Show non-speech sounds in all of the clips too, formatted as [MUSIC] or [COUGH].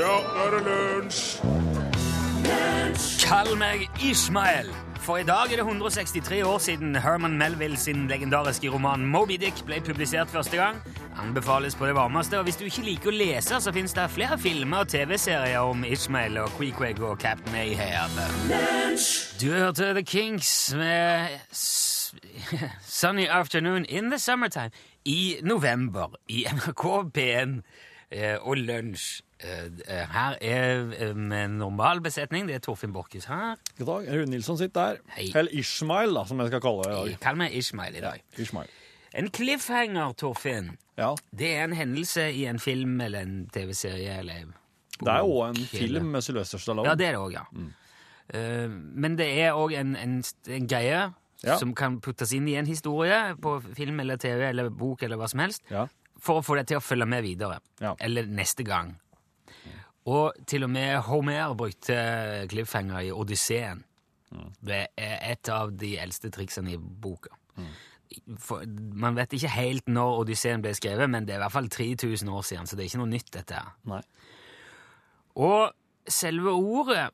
Ja, nå er det lunsj! Kall meg Ishmael, for i dag er det 163 år siden Herman Melville sin legendariske roman Moby Dick ble publisert første gang. Anbefales på det varmeste, og hvis du ikke liker å lese, så finnes det flere filmer og TV-serier om Ishmael og Queequeg og Captain Ahab. Du hørte The Kinks med [LAUGHS] s- Sunny Afternoon in the Summertime i november i NRK P1 eh, og lunsj. Eh, Her er eh, en normal besetning. Det er Torfinn Borchhus her. God dag. Rune Nilsson sitter der. Hei. Eller Ishmael, da, som jeg skal kalle det i dag. Kall meg Ishmael i dag. Ishmael. En cliffhanger, Torfinn, Ja. det er en hendelse i en film eller en TV-serie eller en Det er jo bok, en eller- film med Sylvester Stallone. Ja, det er det òg, ja. Eh, men det er òg en, en, en greie Ja. som kan puttes inn i en historie på film eller TV eller bok eller hva som helst. Ja. for å få deg til å følge med videre. Ja. Eller neste gang. Og til og med Homer brukte cliffhanger i Odysseen. Det er et av de eldste triksene i boka. For, man vet ikke helt når Odysseen ble skrevet, men det er i hvert fall 3000 år siden, så det er ikke noe nytt, dette her. Nei. Og selve ordet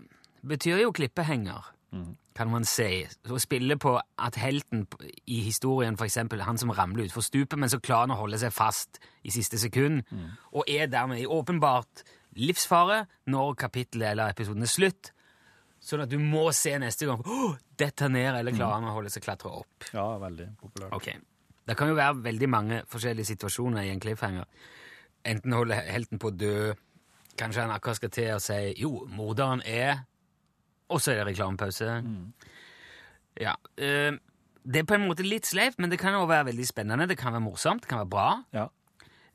betyr jo klippehenger, kan man si. Å spille på at helten p- i historien, for eksempel han som ramler utfor stupet, men så klarer han å holde seg fast i siste sekund, og er dermed i åpenbart livsfare når kapittelet eller episoden er slutt. Sånn at du må se neste gang «Åh, Dette ned, eller klarer han å holde seg klatre opp? Ja, veldig populær. Ok. Det kan jo være veldig mange forskjellige situasjoner i en cliffhanger. Enten holder helten på å dø, kanskje han akkurat skal til å si jo, morderen er Og så er det reklamepause. Ja. eh, det er på en måte litt sleivt, men det kan jo være veldig spennende. Det kan være morsomt, det kan være bra. Ja.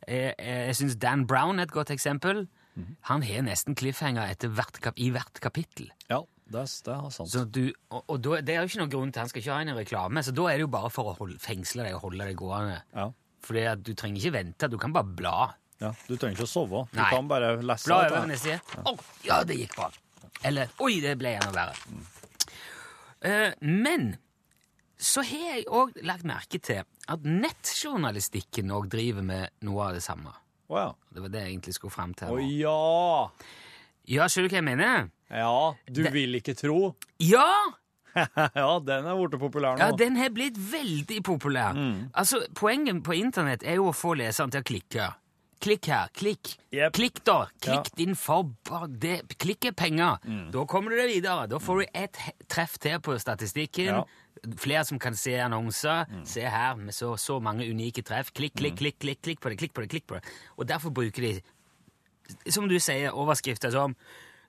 Jeg, jeg, jeg syns Dan Brown er et godt eksempel. Han har nesten cliffhanger etter hvert kap i hvert kapittel. ja, det er, det er sant. Så du, og og da, det er jo ikke noen grunn til Han skal ikke ha en i reklame, så da er det jo bare for å holde, fengsle deg og holde deg gående. Ja. Fordi at du trenger ikke vente, du kan bare bla. ja. Du trenger ikke å sove. Du Nei. kan bare lese. Bla dette over her. neste side. Å, ja, det gikk bra. Eller Oi, det ble enda verre. Eh, men så har jeg òg lagt merke til at nettjournalistikken òg driver med noe av det samme. Å ja. Det var det jeg egentlig skulle fram til. Å nå. ja! Ja, skjønner du hva jeg mener? Ja, du vil ikke tro. [LAUGHS] Ja! ja, den er blitt populær nå. Mm. Ja, den har blitt veldig populær. Altså, Poenget på internett er jo å få leseren til å klikke. Klikk her, klikk. Jep. Klikk, da! Ja. Mm. Klikk din forbar... det- Klikk er penger. Da kommer du deg videre. Da får du ett he- treff til på statistikken. Ja. Mm. Flere som kan se annonser. Se her, med så, så mange unike treff. Klikk, klikk, klikk, klikk, klikk på det, klikk på det, klikk på det. Og derfor bruker de, som du sier, overskrifter som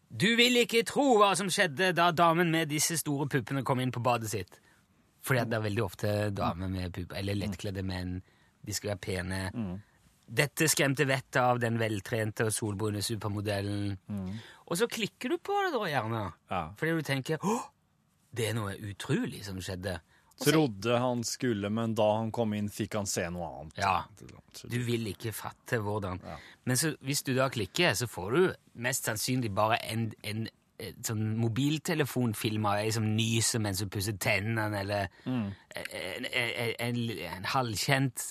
du vil ikke tro hva som skjedde da damen med disse store puppene kom inn på badet sitt. Fordi at det er veldig ofte damer med pupp, eller lettkledde menn. De skal være pene. Dette skremte vettet av den veltrente og solbrune supermodellen. Og så klikker du på det, da, gjerne. Ja. Fordi du tenker Å, det er noe utrolig som skjedde. Trodde han skulle, men da han kom inn, fikk han se noe annet. Ja. Du vil ikke fatte hvordan. Men så, hvis du da klikker, så får du mest sannsynlig bare en, en, eh, sånn mobiltelefonfilm av ei som nyser mens hun pusser tennene, eller en, en, en, en halvkjent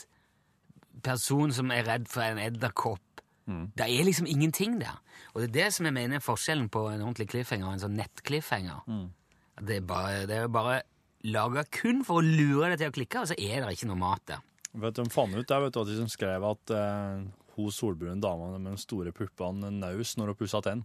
person som er redd for en edderkopp. Det er liksom ingenting der. Og det er det som jeg mener er forskjellen på en ordentlig cliffhanger og en sånn nettcliffhanger. Det er bare, det er bare laga kun for å lure deg til å klikke, og så er det ikke noe mat der. Vet du, De fant ut det, vet du, at de som skrev at eh, hun solbrune dama med de store puppene naus når hun pussa tenn.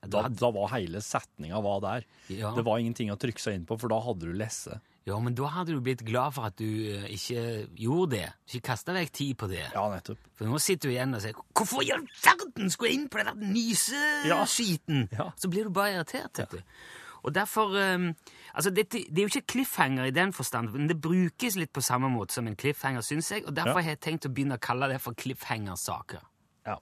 Da, hadde- da var hele setninga var der. Ja. Det var ingenting å trykke seg inn på, for da hadde du lese. Ja, men da hadde du blitt glad for at du eh, ikke gjorde det. Ikke kasta vekk tid på det. Ja, nettopp. For nå sitter du igjen og sier 'Hvorfor i all verden skulle jeg inn på den der Ja. nyseskiten?' Ja. Så blir du bare irritert, vet du. Og derfor eh, Altså, det, det er jo ikke cliffhanger i den forstand, men det brukes litt på samme måte som en cliffhanger, syns jeg, og derfor Ja. har jeg tenkt å begynne å kalle det for cliffhanger-saker. Ja.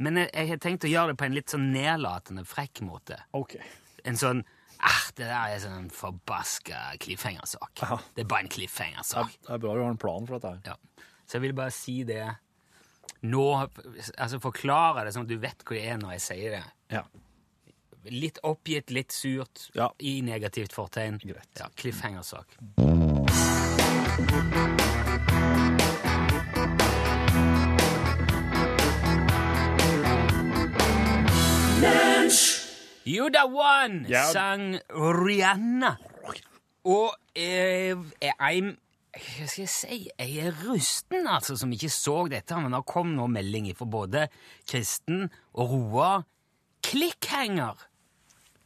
Men jeg, jeg har tenkt å gjøre det på en litt sånn nedlatende, frekk måte OK. en sånn Ah, det der er sånn en forbaska cliffhangersak. Det er bare en cliffhangersak. Det er bra du har en plan for dette. her. Ja. Så jeg vil bare si det nå Altså forklare det sånn at du vet hvor jeg er når jeg sier det. Ja. Litt oppgitt, litt surt, Ja. i negativt fortegn. Greit. Ja, cliffhangersak. You're the one, Ja. sang Rihanna. Og eh, eh, I'm Hva skal jeg si? Jeg er rusten, altså, som ikke så dette, men det kom nå melding fra både Kristen og Roar. Clickhanger!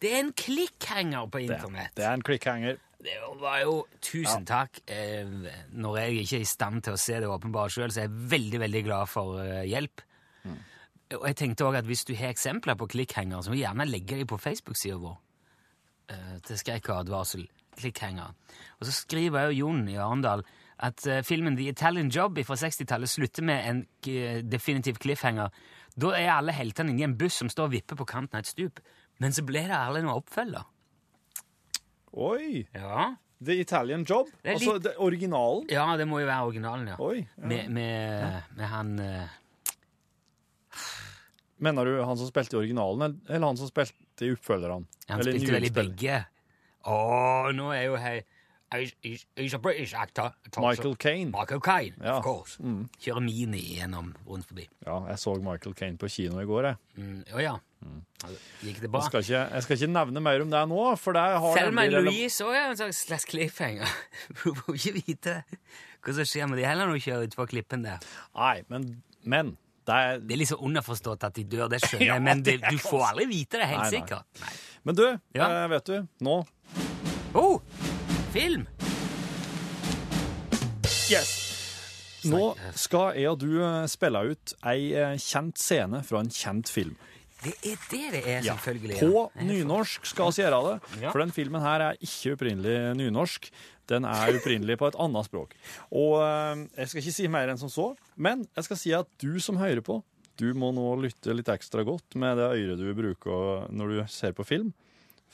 Det er en clickhanger på internett. Det er en klikkhenger. Det var jo Tusen takk. Eh, Når jeg ikke er i stand til å se det åpenbart sjøl, så er jeg veldig veldig glad for eh, hjelp. Og jeg tenkte også at Hvis du har eksempler på klikkhenger, så må du gjerne legge dem på Facebook-sida vår. Eh, Til skrekk og advarsel. Klikkhenger. Og så skriver jo Jon i Arendal at eh, filmen The Italian Job fra 60-tallet slutter med en eh, definitiv cliffhanger. Da er alle heltene inni en buss som står og vipper på kanten av et stup. Men så ble det aldri noen oppfølger. Oi! Ja. The Italian Job. er litt- Altså det originalen. Ja, det må jo være originalen, ja. Oi. Med, med, med han eh, Mener du han som spilte i originalen, eller han som spilte i oppfølgerne? Han Eller spilte vel i nyinnspilling. begge. Å, nå er jo hei He's, he's, he's a British actor. Michael Caine. Michael Caine, Ja. Mm. of course. Kjører mini gjennom rundt forbi. Ja, jeg så Michael Caine på kino i går, jeg. Mm, å ja. Altså, Gikk det Jeg bra? skal, ikke, jeg skal ikke nevne mer om det nå, for det har Selma nemlig rele- Louise òg er en slags slags cliffhanger. [LAUGHS] Hun får ikke vite hva som skjer med de heller når hun kjører utfor klippen der. Nei, men, men det er, Det er liksom underforstått at de dør, det [LAUGHS] skjønner Ja, jeg, men det, det er du får aldri vite det, helt Nei, nei. sikkert. Nei. Men du, Ja. eh, vet du, nå Oh, film! Nå skal jeg og du eh, spille ut ei eh, kjent scene fra en kjent film. Det er det det er, selvfølgelig. ja. På nynorsk skal vi gjøre det, Ja. for den filmen her er ikke opprinnelig nynorsk. Den er opprinnelig på et annet språk. Og eh, jeg skal ikke si mer enn som så, men jeg skal si at du som hører på, du må nå lytte litt ekstra godt med det øret du bruker når du ser på film,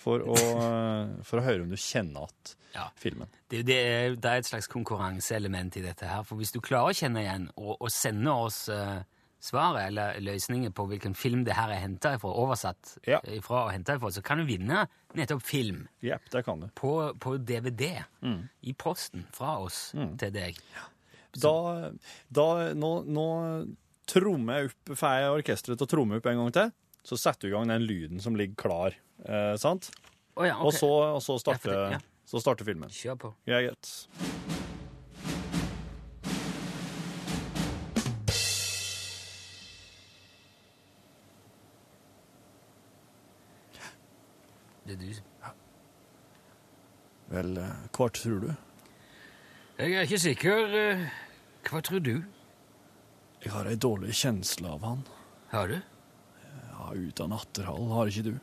for å, eh, for å høre om du kjenner Ja. igjen filmen. Det, det, er, det er et slags konkurranseelement i dette her. For hvis du klarer å kjenne igjen og, og sende oss eh, svaret eller løsninger på hvilken film det her er henta ifra, oversatt eh, Ja. ifra og hentet ifra, så kan du vinne nettopp film Jepp, det kan du. på, på DVD Mm. i posten fra oss til deg. Da, da nå, nå trommer jeg opp, får jeg orkestret til å tromme opp en gang til, så setter du i gang den lyden som ligger klar, eh, sant? Å ja, ok. Og, så, og så, starter, Ja, for det- ja. så starter filmen. Kjør på. Ja, greit. Det er du. som- Vel, eh, hvert tror du? Jeg er ikke sikker. eh, Hva tror du? Jeg har ei dårlig kjensle av han. Har du? Ja, uten atterhall har ikke du.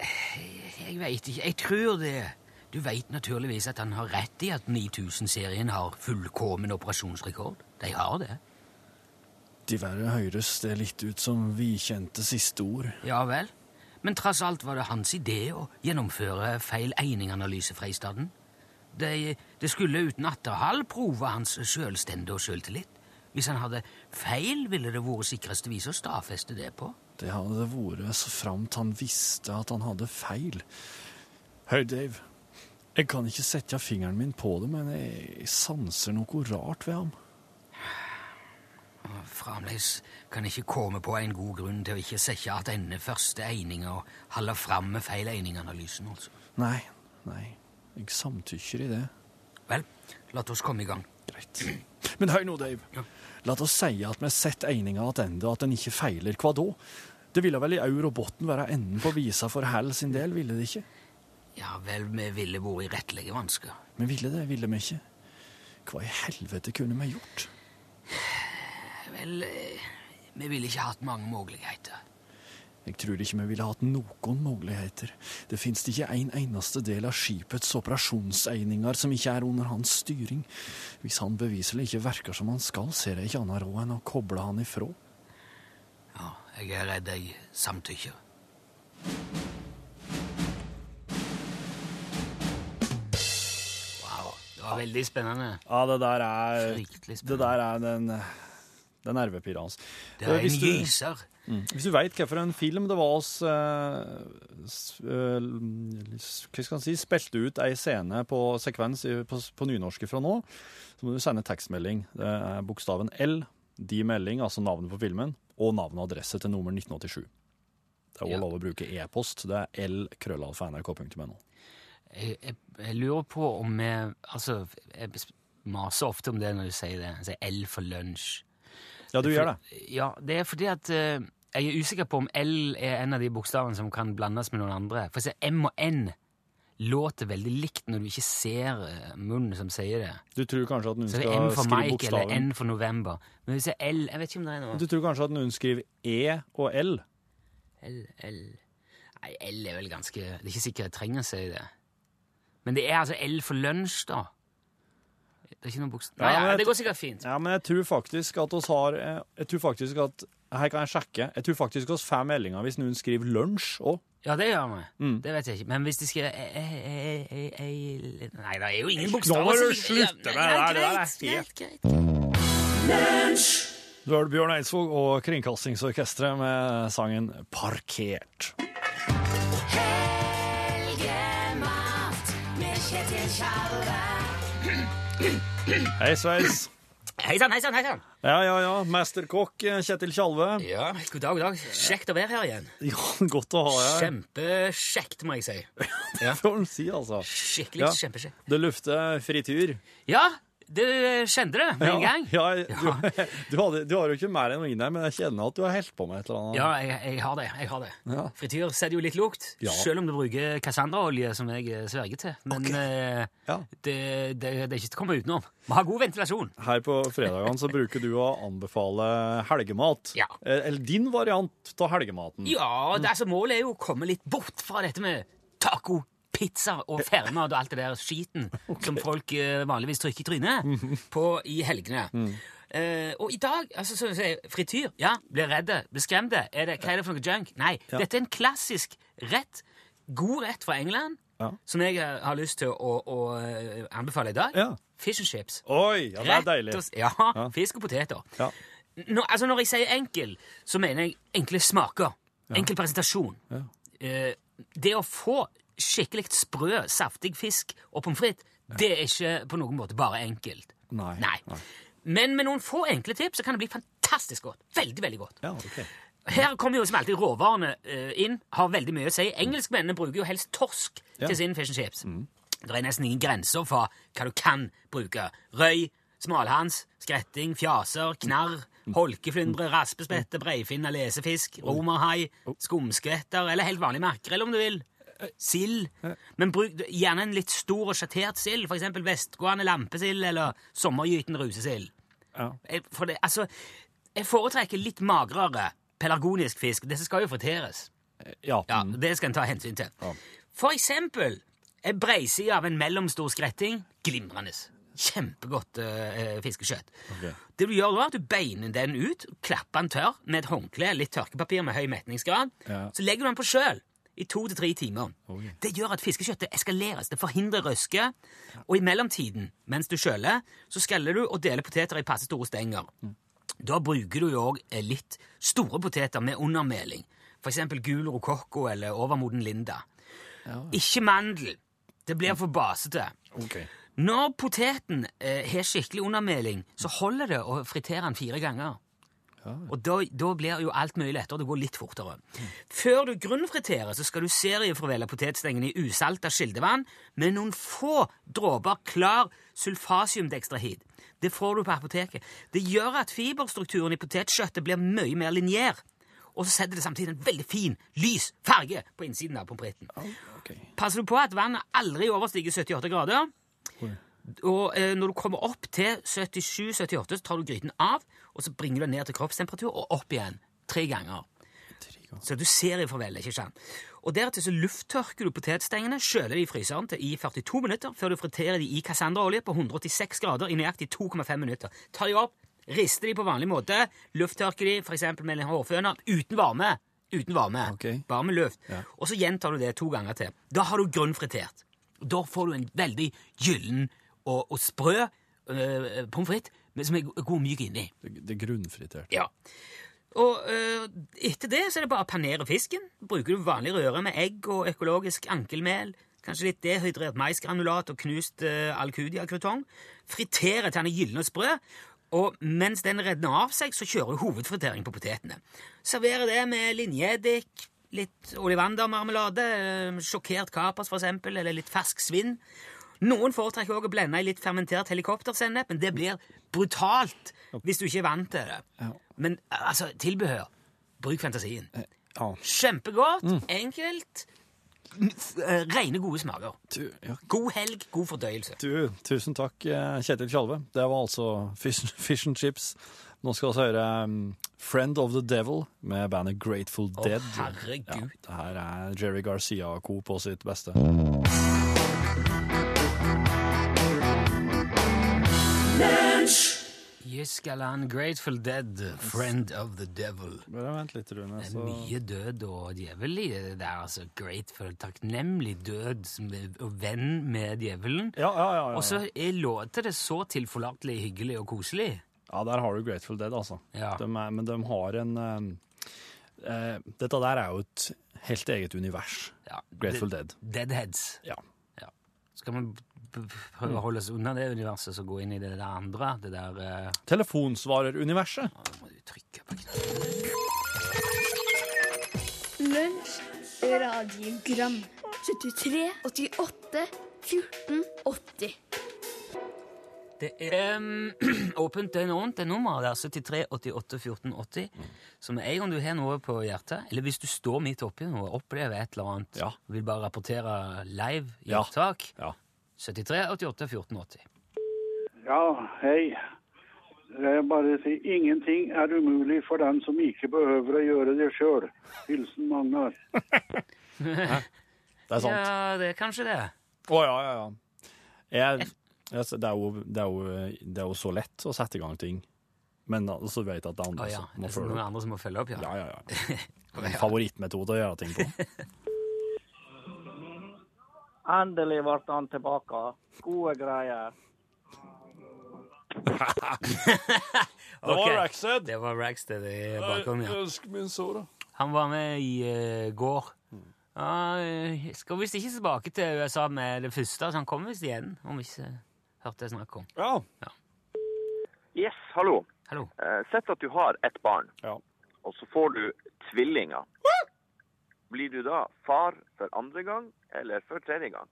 Jeg veit ikke. Jeg tror det. Du veit naturligvis at han har rett i at 9000-serien har fullkommen operasjonsrekord. De har det. Diverre høres det litt ut som vikjente siste ord. Ja vel. Men trass alt var det hans idé å gjennomføre feil eininganalyse fra i staden. Det, det skulle uten atterhall prove hans sjølstende og sjøltillit. Hvis han hadde feil, ville det vært sikreste vis å stadfeste det på. Det hadde det vært så framt han visste at han hadde feil. Hør, Dave. Jeg kan ikke sette fingeren min på det, men jeg sanser noe rart ved ham. Fremdeles kan jeg ikke komme på en god grunn til å ikke sette at denne første eininga holder fram med feil eininganalysen, altså. Nei, nei. Jeg samtykker i det. Vel, la oss komme i gang. Greit. Men hør nå, Dave. La oss si at vi setter egninga tilbake, at den ikke feiler. Hva da? Det ville vel i aur og botn være enden på visa for Hal sin del, ville det ikke? Ja vel, vi ville vært i rettelige vansker. Men ville det, ville vi ikke? Hva i helvete kunne vi gjort? Vel, eh, vi ville ikke hatt mange muligheter. Jeg tror ikke vi ville hatt noen muligheter. Det fins ikke en eneste del av skipets operasjonsegninger som ikke er under hans styring. Hvis han beviselig ikke verker som han skal, ser jeg ikke annet råd enn å koble han ifra. Ja, jeg er redd jeg samtykker. Wow, det var veldig spennende. Ja, det der er, Fryktelig spennende. det der er den, den nervepirra hans. Det er Eh, hvis en du- gyser. Mm. Hvis du veit hvilken film det var oss eh, s- eh, Hva skal man si spilte ut ei scene på sekvens i- på, på nynorske fra nå, så må du sende tekstmelding. Det er bokstaven L, de melding, altså navnet på filmen, og navn og adresse til nummer 1987. Det er også Ja. lov å bruke e-post. Det er lkrøllalfa.nrk.no. Jeg, jeg, jeg lurer på om jeg, Altså, jeg bes- maser ofte om det når du sier det. Jeg sier L for lunsj. Ja, du gjør det. Ja, det er fordi at eh, jeg er usikker på om L er en av de bokstavene som kan blandes med noen andre. For se, M og N låter veldig likt når du ikke ser eh, munnen som sier det. Du tror kanskje at noen Så det er skal M for skrive Mike eller bokstaven N for November. Men hvis det er L Jeg vet ikke om det er noe. Du tror kanskje at noen skriver E og L? L, L Nei, L er vel ganske Det er ikke sikkert jeg trenger å si det. Men det er altså L for lunsj, da. Det er ikke noen bokstav... Nei, Ja, men ja, jeg det går sikkert fint. Ja, men jeg tror faktisk at oss har eh, Jeg tror faktisk at Her kan jeg sjekke. Jeg tror faktisk oss får meldinger hvis noen skriver lunsj òg. Ja, det gjør vi. Mm. Det vet jeg ikke. Men hvis de skriver e- e- e- e- e- Nei, det er jo ingen bokstaver må som du ligger- ja, slutte nei, med det nei, der, det der er greit, helt- greit, greit. Du hørte Bjørn Eidsvåg og Kringkastingsorkestret med sangen 'Parkert'. Helgemat med Kjetil Tjalve. Hei sveis. Hei sann, hei sann, hei sann. Ja, ja, ja. Mesterkokk eh, Kjetil Tjalve. Ja, god dag, god dag. Kjekt å være her igjen. Ja, godt å ha deg. Kjempekjekt, må jeg si. Det får en si, altså. Skikkelig Ja. kjempekjekt. Det lufter fritur. Ja, du kjente det med Ja, en gang. ja, du, [LAUGHS] du, hadde, du har jo ikke mer enn å inne, men jeg kjenner at du har helt på med et eller annet. Ja, jeg, jeg har det. jeg har det. Ja. Frityr setter jo litt lukt, Ja. selv om du bruker Cassandra-olje, som jeg eh, sverger til. Men eh, Ja. det, det, det er ikke til å komme utenom. Vi har god ventilasjon. Her på fredagene så bruker du å anbefale helgemat. Ja. Eh, Eller din variant av helgematen. Ja, det, altså, målet er jo å komme litt bort fra dette med taco, pizza og fermat og alt det der [LAUGHS] skiten som folk eh, vanligvis trykker i Mhm. trynet på i helgene. Mm. Eh, og i dag altså, så, så, er Frityr. Ja, blir redde, blir skremte. Er det, hva er det for noe junk? Nei. Dette er en klassisk rett. God rett fra England. Ja. Som jeg eh, har lyst til å, å eh, anbefale i dag. Ja. Fish and chips. Oi, ja, det er Rett deilig. og s- Ja, fisk og poteter. Ja. Nå, altså når jeg sier enkel, så mener jeg enkle smaker. Enkel presentasjon. Eh, det å få skikkelig sprø, saftig fisk og pommes frites, det er ikke på noen måte bare enkelt. Nei. Men med noen få enkle tips så kan det bli fantastisk godt. Veldig, veldig godt. Ja, ok. Her kommer jo som alltid råvarene eh, inn, har veldig mye å si. Engelskmennene bruker jo helst torsk Ja. til sin fish and chips. Det er nesten ingen grenser for hva du kan bruke. Røy, smalhans, skretting, fjaser, knarr, holkeflyndre, raspespette, breifinna, lesefisk, romerhai, skumskvetter eller helt vanlig makrell om du vil. Sild. Men bruk gjerne en litt stor og sjattert sild, f.eks. vestgående lampesild eller sommergytende rusesild. Ja. Jeg- For det, altså, jeg foretrekker litt magrere pelargonisk fisk. Dette skal jo friteres. Ja. Ja, mm. Det skal en ta hensyn til. For eksempel en breiside av en mellomstor skretting. Glimrende. Kjempegodt eh, eh, fiskekjøtt. Ok. Det du gjør da, er at du beiner den ut, klapper den tørr med et håndkle, litt tørkepapir med høy metningsgrad. Ja. Så legger du den på sjøl i to til tre timer. Oi. Det gjør at fiskekjøttet eskaleres. Det forhindrer røske. Og i mellomtiden, mens du kjøler, så skreller du og deler poteter i passe store stenger. Mm. Da bruker du jo òg litt store poteter med undermeling. F.eks. gul rokokko eller overmoden linda. Ikke mandel. Det blir for basete. Ok. Når poteten eh, har skikkelig undermeling, så holder det å fritere den fire ganger. Og da, da blir jo alt mye lettere, det går litt fortere. Før du grunnfriterer, så skal du seriefrivele potetstengene i usalta skildevann med noen få dråper klar sulfasiumdekstrahid. Det får du på apoteket. Det gjør at fiberstrukturen i potetskjøttet blir mye mer linjær. Og så setter det samtidig en veldig fin, lys farge på innsiden av pommes fritesen. ok. Passer du på at vannet aldri overstiger 78 grader? Og eh, når du kommer opp til 77-78, så tar du gryten av, og så bringer du den ned til kroppstemperatur og opp igjen. Tre ganger. Så du ser i farvel, ikke sant? Og deretter så lufttørker du potetstengene, kjøler de i fryseren til i 42 minutter, før du friterer de i cassandraolje på 186 grader i nøyaktig 2,5 minutter. Ta de opp, rister de på vanlig måte, lufttørker de, for eksempel med en hårføner, uten varme. Uten varme. Ok. Bare med luft. Og så gjentar du det to ganger til. Da har du grunnfritert. Da får du en veldig gyllen og, og sprø øh, pommes frites men som er go- god myk inni. Det, det er grunnfritert. Ja. Og øh, etter det så er det bare å panere fisken. Bruker du vanlig røre med egg og økologisk ankelmel. Kanskje litt dehydrert maisgranulat og knust øh, alcudia-krutong. Fritere til den er gyllen og sprø. Og mens den redner av seg, så kjører du hovedfritering på potetene. Serverer det med linjeeddik, litt olivandermarmelade, eh, sjokkert kapers for eksempel, eller litt fersk svinn. Noen foretrekker også å blende i litt fermentert helikoptersennep, men det blir brutalt hvis du ikke er vant til det. Men eh, altså, tilbehør. Bruk fantasien. ja. Kjempegodt, Mm. enkelt, n- f- eh, rene gode smaker. Du, ja. God helg, god fordøyelse. Du, tusen takk, eh, Kjetil Tjalve. Det var altså Fish, [LAUGHS] fish and Chips. Nå skal vi også høre um, Friend of the Devil med bandet Grateful Å, Dead. herregud. Ja, det her er Jerry Garcia og co. på sitt beste. Jyskaland, Grateful Dead, Friend of the Devil. Bare vent litt, Rune. Det er Så... mye død og djevel i det der. altså Grateful, takknemlig død som er- og venn med djevelen. Ja, ja, ja, Og ja. så er låter det så tilforlatelig hyggelig og koselig. ja, der har du Grateful Dead, altså. Ja. De er, men de har en um, eh, Dette der er jo et helt eget univers. Ja, Grateful de- Dead. Deadheads. Ja. Skal vi b- b- prøve å holde oss unna det universet og gå inn i det der andre? Det der eh, Telefonsvareruniverset. Nå må du trykke på knappen. Lunsj, radiogram 73, 88, 14, 80 Det er em, [CLEARS THROAT] åpent døgn rundt. Det er altså nummeret der, 73 88 14 80. Som er en gang du har noe på hjertet, eller hvis du står midt oppi noe, opplever et eller annet, Ja. og vil bare rapportere live i Ja. opptak, Ja. 73 88 14 80. Ja, hei. Det er bare å si ingenting er umulig for den som ikke behøver å gjøre det sjøl. Hilsen Magnar. Det er sant. Ja, det er kanskje det. Å ja, ja, ja. Jeg, jeg, det, er jo, det, er jo, det er jo så lett å sette i gang ting, men så vet jeg at det er Å andre ja. som Altså, må Det er følge noen opp. andre som må følge opp, [LAUGHS] ja. Ja, ja, ja. Min favorittmetode å gjøre ting [LAUGHS] på. Endelig ble han tilbake. Gode greier. Ok, Rackstead. Det var Rackstead i bakgrunnen, ja. Ønsk min såra. Han var med i eh, går. Ja, eh, skal visst ikke tilbake til USA med det første, så han kommer visst igjen, om vi ikke hørte jeg snakk om. Ja. Yes, hallo. Hallo. Eh, sett at du har ett barn, Ja. og så får du tvillinger. Blir du da far for andre gang, eller for tredje gang?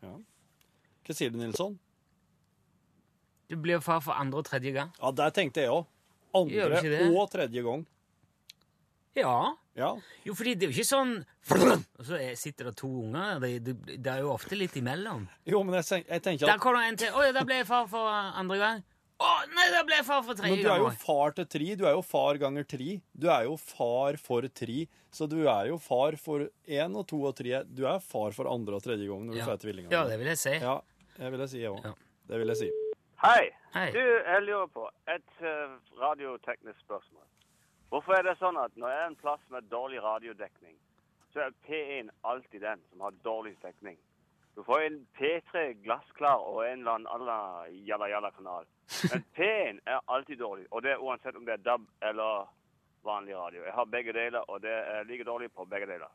Hva sier du, Nilsson? Du blir far for andre og tredje gang. Ja, der tenkte jeg òg. Gjør du ikke det? og tredje gang. Ja. Ja. Jo, fordi det er jo ikke sånn Og så er- sitter det to unger. Det, det, det er jo ofte litt imellom. Jo, men jeg, tenk- jeg tenker Der at kommer det en til. 'Å ja, da ble jeg far for andre gang.' 'Å nei, da ble jeg far for men tredje du er gang.' jo også.» far til tre. Du er jo far ganger tre. Du er jo far for tre. Så du er jo far for én og to og tre. Du er far for andre og tredje gang når du Ja. får tvillinger. ja, det vil jeg si. Ja, det vil jeg si, jeg òg. Ja. Det vil jeg si. Hei. Hei. Du, jeg lurer på et eh, radioteknisk spørsmål. Hvorfor er det sånn at når det er en plass med dårlig radiodekning, så er P1 alltid den som har dårligst dekning? Du får en P3 glassklar og en eller annen annen jalla-jalla-kanal. Men P1 er alltid dårlig, og det er uansett om det er DAB eller vanlig radio. Jeg har begge deler, og det er like dårlig på begge deler.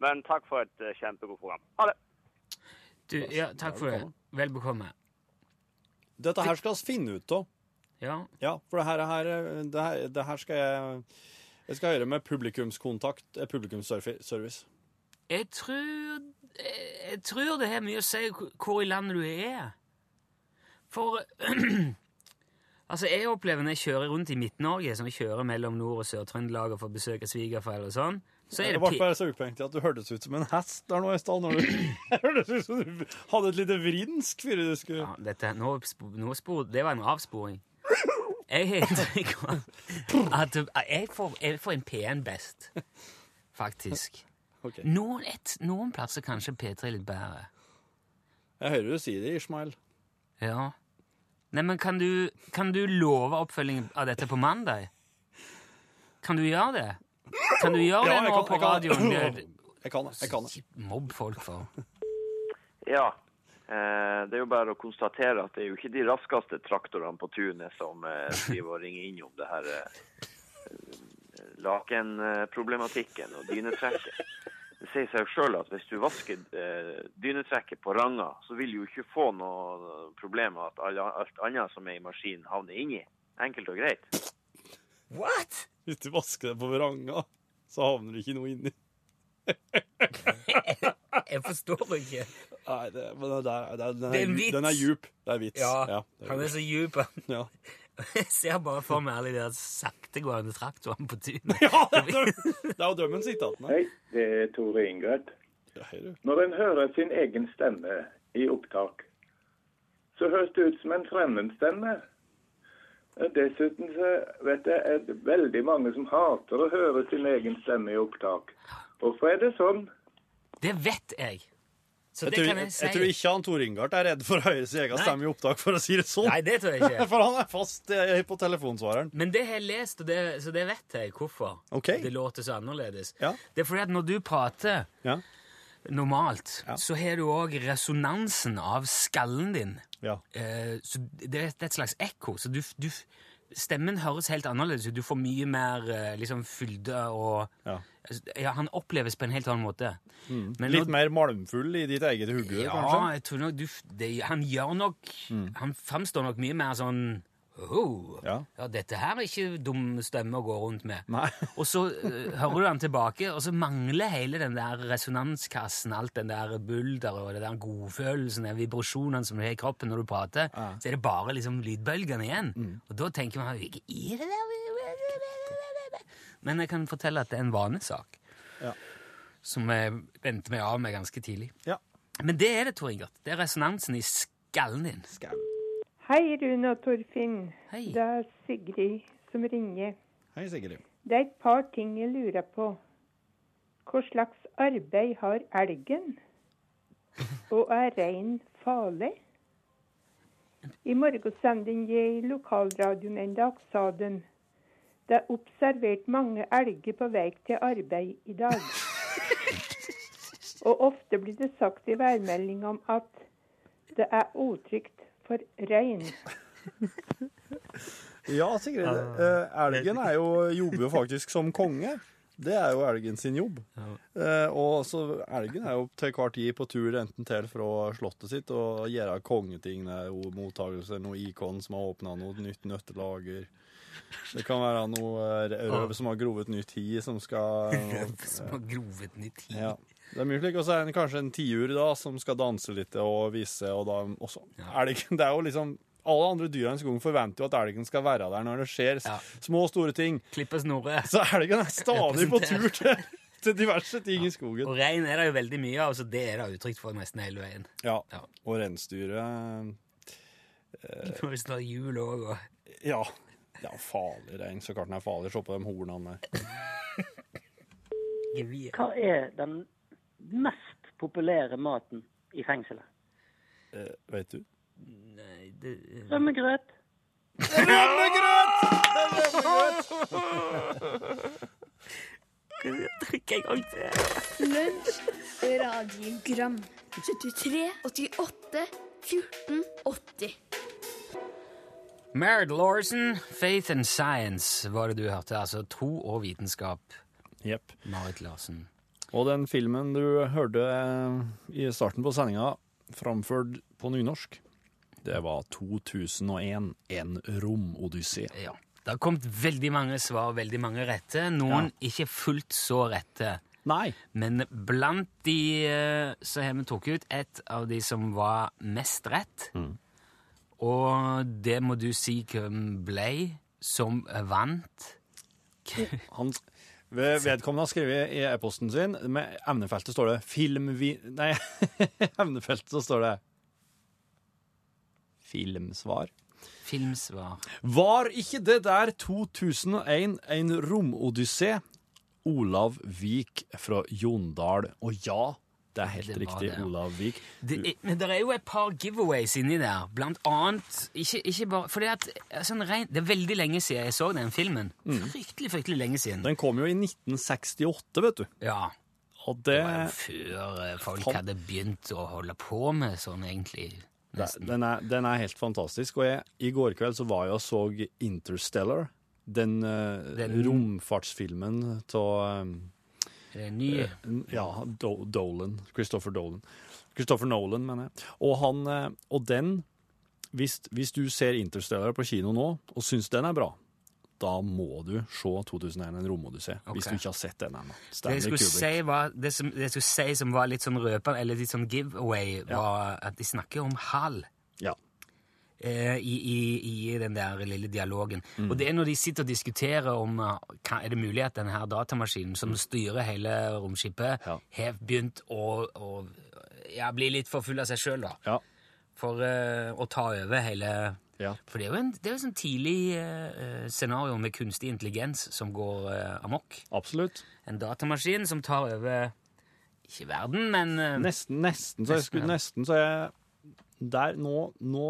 Men takk for et eh, kjempegodt program. Ha det! Du, ja, takk for det. Vel bekomme. Dette her skal vi finne ut av. Ja. Ja, for det her, her, det her, det her skal jeg Jeg skal høre med publikumskontakt, eh, publikumsservice. Jeg tror jeg, jeg tror det har mye å si hvor- hvor i landet du er. For [CLEARS THROAT] Altså, jeg opplever når jeg kjører rundt i Midt-Norge, som jeg kjører mellom Nord- og Sør-Trøndelag og får besøk av svigerforeldre og sånn, så er Det det ble pi- bare så upengelig at du hørtes ut som en hest der nå i stad. når du- [LAUGHS] Jeg hørtes ut som du hadde et lite vrinsk før du skulle Ja, dette, nå, sp- nå spor, det var en avsporing. Jeg har inntrykk av at jeg får, jeg får en P1 best, faktisk. Ok. Noen, et, noen plasser kanskje P3 litt bedre. Jeg hører du si det, Ishmael. Ja. Nei, men kan du, kan du love oppfølging av dette på mandag? Kan du gjøre det? Kan du gjøre det nå på [CLEARS THROAT] radioen? Det- Jeg kan det. Jeg kan det. Ikke Mobb folk for. Ja. Eh, det er jo bare å konstatere at det er jo ikke de raskeste traktorene på tunet som eh, driver og ringer inn om det her eh, lakenproblematikken og dynetrekket. Det sier seg jo sjøl at hvis du vasker eh, dynetrekket på ranga, så vil du jo ikke få noe problem med at alle- alt annet som er i maskinen, havner inni. Enkelt og greit. What? Hvis du vasker deg på vranga, så havner du ikke noe inni. Jeg forstår det ikke. Nei, det, men det, er- det, er- den, Det er er, en dju- vits. den er djup. Det er vits. Ja, det han er er, så djup. [LAUGHS] han. ja. Jeg ser bare for meg alle de der saktegående traktorene på tunet. det er jo drømmen sitt. at den er. Hei, det er Tore Ingert. Ja, hei, du. Når en hører sin egen stemme i opptak, så høres det ut som en fremmed stemme. Dessuten så vet jeg er det veldig mange som hater å høre sin egen stemme i opptak. Hvorfor er det sånn? Det vet jeg. Så Jeg det tror, kan jeg, jeg jeg tror si. ikke han Tor Ingard er redd for å høre sin egen Nei. stemme i opptak, for å si det sånn. Nei, det tror jeg ikke. [LAUGHS] For han er fast eh, på telefonsvareren. Men det har jeg lest, og det, så det vet jeg hvorfor. Ok. Det låter så annerledes. Ja. Det er fordi at når du prater Ja. normalt, Ja. så har du òg resonansen av skallen din. Ja. Eh, så det, er- det er et slags ekko. Så du, du, stemmen høres helt annerledes ut. Du får mye mer eh, liksom fylde og Ja. Mm. Altså, ja, Han oppleves på en helt annen måte. Men Litt når- mer malmfull i ditt eget hode, ja, kanskje? Mm. jeg tror nok du f- det, Han gjør nok Han framstår nok mye mer sånn «Ho, Ja. ja, dette her er ikke dum stemme å gå rundt med. Nei. [LAUGHS] Og så eh, hører du han tilbake, og så mangler hele den der resonanskassen, alt den der bulder og den der godfølelsen, den vibrasjonen som du har i kroppen når du prater, så er det bare liksom lydbølgene igjen. Mm. Og da tenker man, hva er det der? Men jeg kan fortelle at det er en vanesak, Ja. som jeg vendte meg av med ganske tidlig. Ja. Men det er det, Tor Ingert. Det er resonansen i skallen din. Hei, Rune og Torfinn. Hei. Det er Sigrid som ringer. Hei, Sigrid. Det er et par ting jeg lurer på. Hva slags arbeid har elgen? Og er rein farlig? I morgensendingen i lokalradioen en dag sa de det er observert mange elger på vei til arbeid i dag. Og ofte blir det sagt i værmelding om at det er utrygt for rein. Ja, Sigrid. eh, Elgen er jo, jobber jo faktisk som konge. Det er jo elgen sin jobb. Eh, og så Elgen er jo til hver tid på tur enten til fra slottet sitt og gjøre kongeting. Det er jo mottagelser, noe ikon som har åpna noe nytt nøttelager. Det kan være noe eh, røv som har grovet nytt hi, som skal Som har grovet den i tid. Ja. Det er mye slik. Og så er det kanskje en tiur da, som skal danse litt og vise, og da også elgen. [LAUGHS] Det er jo liksom Alle andre dyra i skogen forventer jo at elgen skal være der når det skjer s- Ja. små og store ting. Klippe snoret. Så elgen er stadig på tur til, [LAUGHS] til diverse ting i skogen. Og rein er det jo veldig mye av, så det er det uttrykt for nesten hele veien. Ja. Ja. Og eh, reinsdyret Hvis det er jul òg, og Ja. Det er jo farlig rein. Så klart den er farlig. Se på de hornene der. gevir. Hva er den mest populære maten i fengselet? Eh, vet du? Nei, det Rømmegrøt. Trykk en gang til. Lunsj, radiogram, 73, 88, 14, 80. Merritt Lawson, 'Faith and Science', var det du hørte. Altså tro og vitenskap. Jepp. Marit Larsen. Og den filmen du hørte eh, i starten på sendinga, framført på nynorsk, det var 2001, En romodyssé. Ja. Det har kommet veldig mange svar, veldig mange rette. Noen ikke fullt så rette. Nei. Men blant de eh, så har vi tatt ut et av de som var mest rett. Og det må du si hvem ble som vant. Han, ved- vedkommende har skrevet i e-posten sin, med emnefeltet står det filmvi... Nei, [LAUGHS] emnefeltet så står det filmsvar. Filmsvar. Var ikke det der 2001 en romodyssé? Olav Vik fra Jondal. Og ja, det er helt Det var riktig, det, ja. Olav Vik. Det, er- men det er jo et par giveaways inni der, blant annet ikke, ikke bare, fordi at, sånn rein, Det er veldig lenge siden jeg så den filmen. Fryktelig, fryktelig lenge siden. Den kom jo i 1968, vet du. Ja, Og det, det var jo Før eh, folk Fan- hadde begynt å holde på med sånn, egentlig. det, den, er, den er helt fantastisk. Og jeg, i går kveld så var jeg og så Interstellar. Den, eh, Den- romfartsfilmen av eh, Er det en ny? ja, Do Dolan. Christopher Dolan. Christopher Nolan, mener jeg. Og, han, eh, og den hvis, hvis du ser Interstellar på kino nå og syns den er bra, da må du se 2001 en romodyssé. Hvis du ikke har sett den ennå. Det Stanley jeg, skulle Kubrick. si var, det, som, det jeg skulle si som var litt sånn røper, eller litt sånn giveaway, var at de snakker om hal Ja. eh, i, i, i den der lille dialogen. Mm. Og det er når de sitter og diskuterer om eh, hva- er det mulig at denne her datamaskinen som styrer hele romskipet, har begynt å, å ja, bli litt for full av seg sjøl, da. For eh, å ta over hele For det er jo en, det er jo et sånn tidlig eh, scenario med kunstig intelligens som går eh, amok. Absolutt. En datamaskin som tar over ikke verden, men eh, Nesten, nesten. Så jeg skulle ja. nesten så jeg Der, nå, nå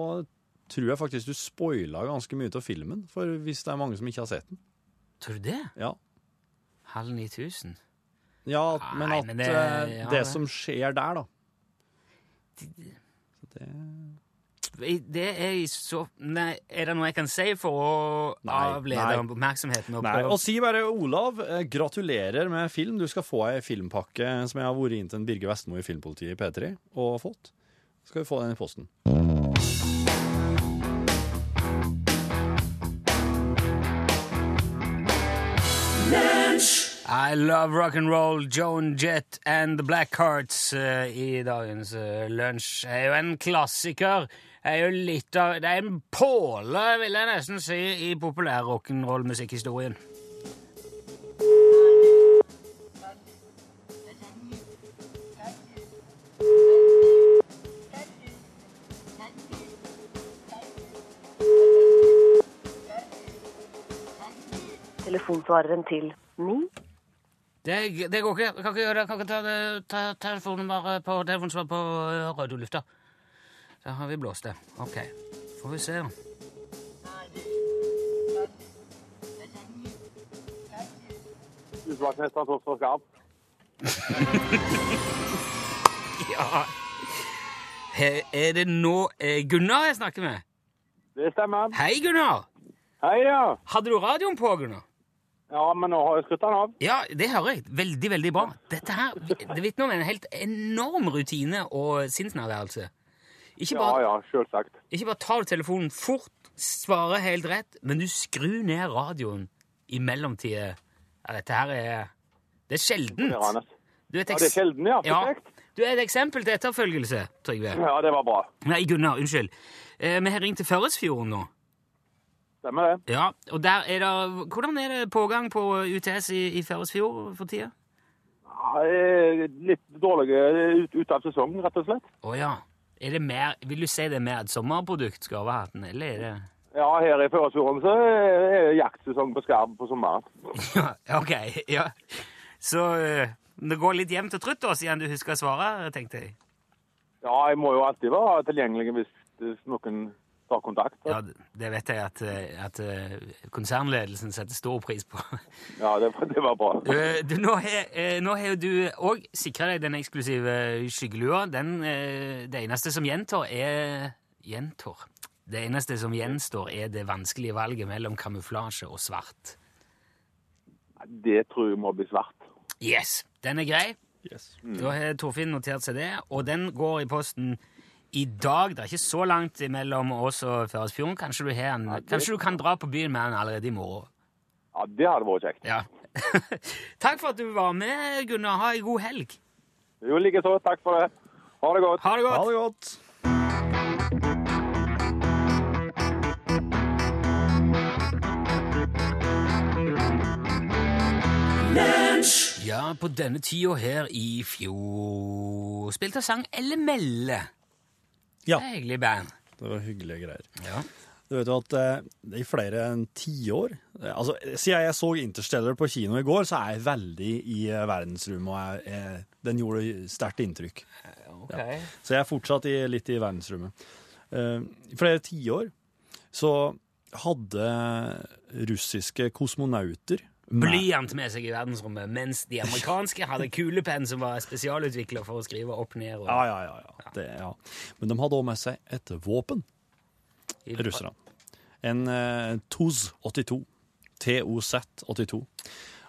tror jeg faktisk du spoila ganske mye av filmen, for hvis det er mange som ikke har sett den. Tror du det? Ja. Halv 9000? Ja, at, men Nei, at men det, det- det, ja, det. som skjer der, da Så det Det er i så Nei, er det noe jeg kan si for å avlede nei. oppmerksomheten? Og Nei, prøve- og si bare Olav, eh, gratulerer med film. Du skal få ei filmpakke som jeg har vært inn til en Birger Vestmo i Filmpolitiet i P3 og fått. Så skal du få den i posten. I love rock and roll, Joan Jett and the Blackhearts eh, i dagens uh, lunsj. Er jo en klassiker. Er jo litt av Det er en påle, vil jeg nesten si, i populær rock'n'roll-musikkhistorien. Telefonsvareren til ni. Det, det går ikke. Jeg kan ikke gjøre det. Jeg kan ikke ta, det- ta telefonnummeret på telefonsvaret på eh, radiolufta. Da har vi blåst det. OK. Får vi se, da. Husvaktmesteren tok for skarp. [LAUGHS] Ja. He- Er det nå eh, Gunnar jeg snakker med? Det stemmer. Hei, Gunnar. Hei, ja. Hadde du radioen på, Gunnar? Ja, men nå har jeg skrutt den av. Ja, det hører jeg. Veldig, veldig bra. Dette her, Det vitner om en helt enorm rutine og sinnsnærværelse. Ikke bare, Ja, ja, selvsagt. ikke bare tar du telefonen fort, svarer helt rett, men du skrur ned radioen i mellomtida. Ja, dette her er Det er sjeldent. Du er et Ja, eks- det er sjelden, ja. Ja. Perfekt. Du er et eksempel til etterfølgelse, Trygve. Ja, det var bra. Nei, Gunnar, unnskyld. Eh, vi har ringt til Førresfjorden nå. Stemmer det. Ja, og der er det Hvordan er det pågang på UTS i, i Førresfjord for tida? Ja, eh, litt dårlige ut, ut av sesongen, rett og slett. Å ja. Er det mer, vil du si det er mer et sommerprodukt, skarvehatten, eller er det Ja, her i Førresfjorden så er det jaktsesong på skarv på sommeren. [LAUGHS] Ja, OK. Ja. Så eh, det går litt jevnt og trutt, da, siden du husker å svare, tenkte jeg. Ja, jeg må jo alltid være tilgjengelig hvis hvis noen tar kontakt. Ja, det- det vet jeg at, eh, at eh, konsernledelsen setter stor pris på. [LAUGHS] Ja, det, [LAUGHS] var- det var bra. Eh, Du, nå har eh, nå har jo du òg sikra deg den eksklusive skyggelua. Den, eh, det eneste som gjentar, er Gjentar? Det eneste som gjenstår, er det vanskelige valget mellom kamuflasje og svart. Det tror jeg må bli svart. Yes, den er grei. Mm. Da har Torfinn notert seg det, og den går i posten i dag. Det er ikke så langt mellom oss og Førresfjorden. Kanskje du, har en, det- kanskje du kan dra på byen med den allerede i morgen. Ja, det hadde vært kjekt. Ja. [LAUGHS] Takk for at du var med, Gunnar. Ha en god helg. Jo, likeså. Takk for det. Ha det godt. Ha det godt. Ha det godt. Ja, på denne tida her i fjor spilte sang Elle Melle. Ja. Hyggelig band. Det var hyggelige greier. Ja. Du vet jo at eh, i flere enn tiår eh, altså, Siden jeg så Interstellar på kino i går, så er jeg veldig i eh, verdensrommet, og jeg, jeg, den gjorde sterkt inntrykk. Ja. Så jeg er fortsatt i, litt i verdensrommet. Eh, I flere tiår så hadde russiske kosmonauter Blyant med seg i verdensrommet, mens de amerikanske hadde kulepenn som var spesialutvikla for å skrive opp ned. Og... Ja, ja, ja. ja. Det, ja. Men de hadde også med seg et våpen, russerne. En eh, TOZ 82. TOZ 82.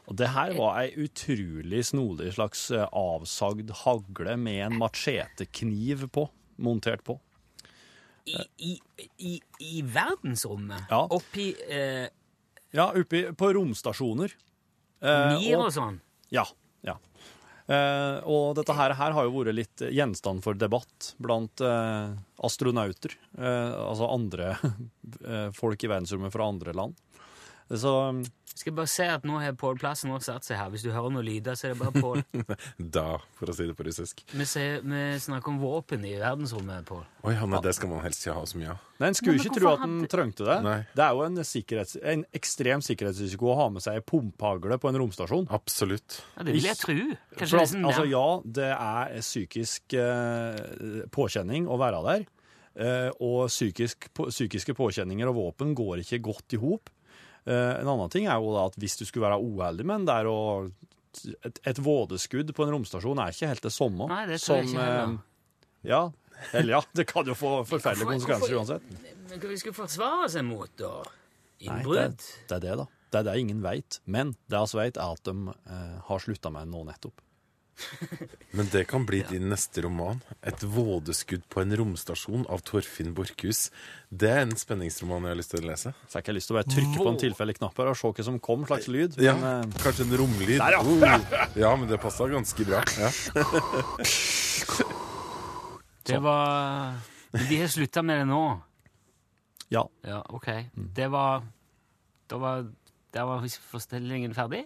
Og det her var ei utrolig snodig slags eh, avsagd hagle med en machetekniv på, montert på. I, i, i, I verdensrommet? Ja. Oppi eh, Ja, oppi på romstasjoner. Eh, Eh, Mir og sånn? Ja. ja. Eh, og dette her, her har jo vært litt gjenstand for debatt blant eh, astronauter. Eh, altså andre [LAUGHS] eh, folk i verdensrommet fra andre land. Så Skal bare se at nå har Pål Plassen også satt seg her. Hvis du hører noen lyder, så er det bare Pål. Da, for å si det på russisk. Vi, ser- vi snakker om våpen i verdensrommet, Pål. Oi, ja, men det skal man helst ikke ha så mye av. Nei, En skulle Nei, men ikke tro hvorfor at en hadde- trengte det. Nei. Det er jo en, sikkerhets, en ekstrem sikkerhetsrisiko å ha med seg pumphagle på en romstasjon. Absolutt. Ja, det vil jeg tro. Kanskje For, det er at- sånn altså, der- ja, det er psykisk eh, påkjenning å være der. Eh, og psykisk, på, psykiske påkjenninger og våpen går ikke godt i hop. Eh, en annen ting er jo da at hvis du skulle være uheldig med en der og et, et vådeskudd på en romstasjon er ikke helt det samme Nei, det tror jeg ikke heller. eh, Ja. Eller ja, det kan jo få forferdelige Hvorfor- konsekvenser hvorfor- uansett. Men hva vi skal forsvare seg mot, da? Nei, Innbrudd? Det, det er det, da. Det er det ingen veit. Men det vi veit, er altså at de eh, har slutta med det nå nettopp. Men det kan bli din neste roman. 'Et vådeskudd på en romstasjon' av Torfinn Borchhus. Det er en spenningsroman jeg har lyst til å lese. Fikk jeg lyst til å bare trykke på en tilfeldig knapp her og se hva som kom, slags lyd. Ja, Men, eh, kanskje en romlyd. Der, ja. Oh. ja, men det passa ganske bra. Ja. Det var De har slutta med det nå? Ja. Mm. Ja, OK. Det var Da var Der var forstillingen ferdig?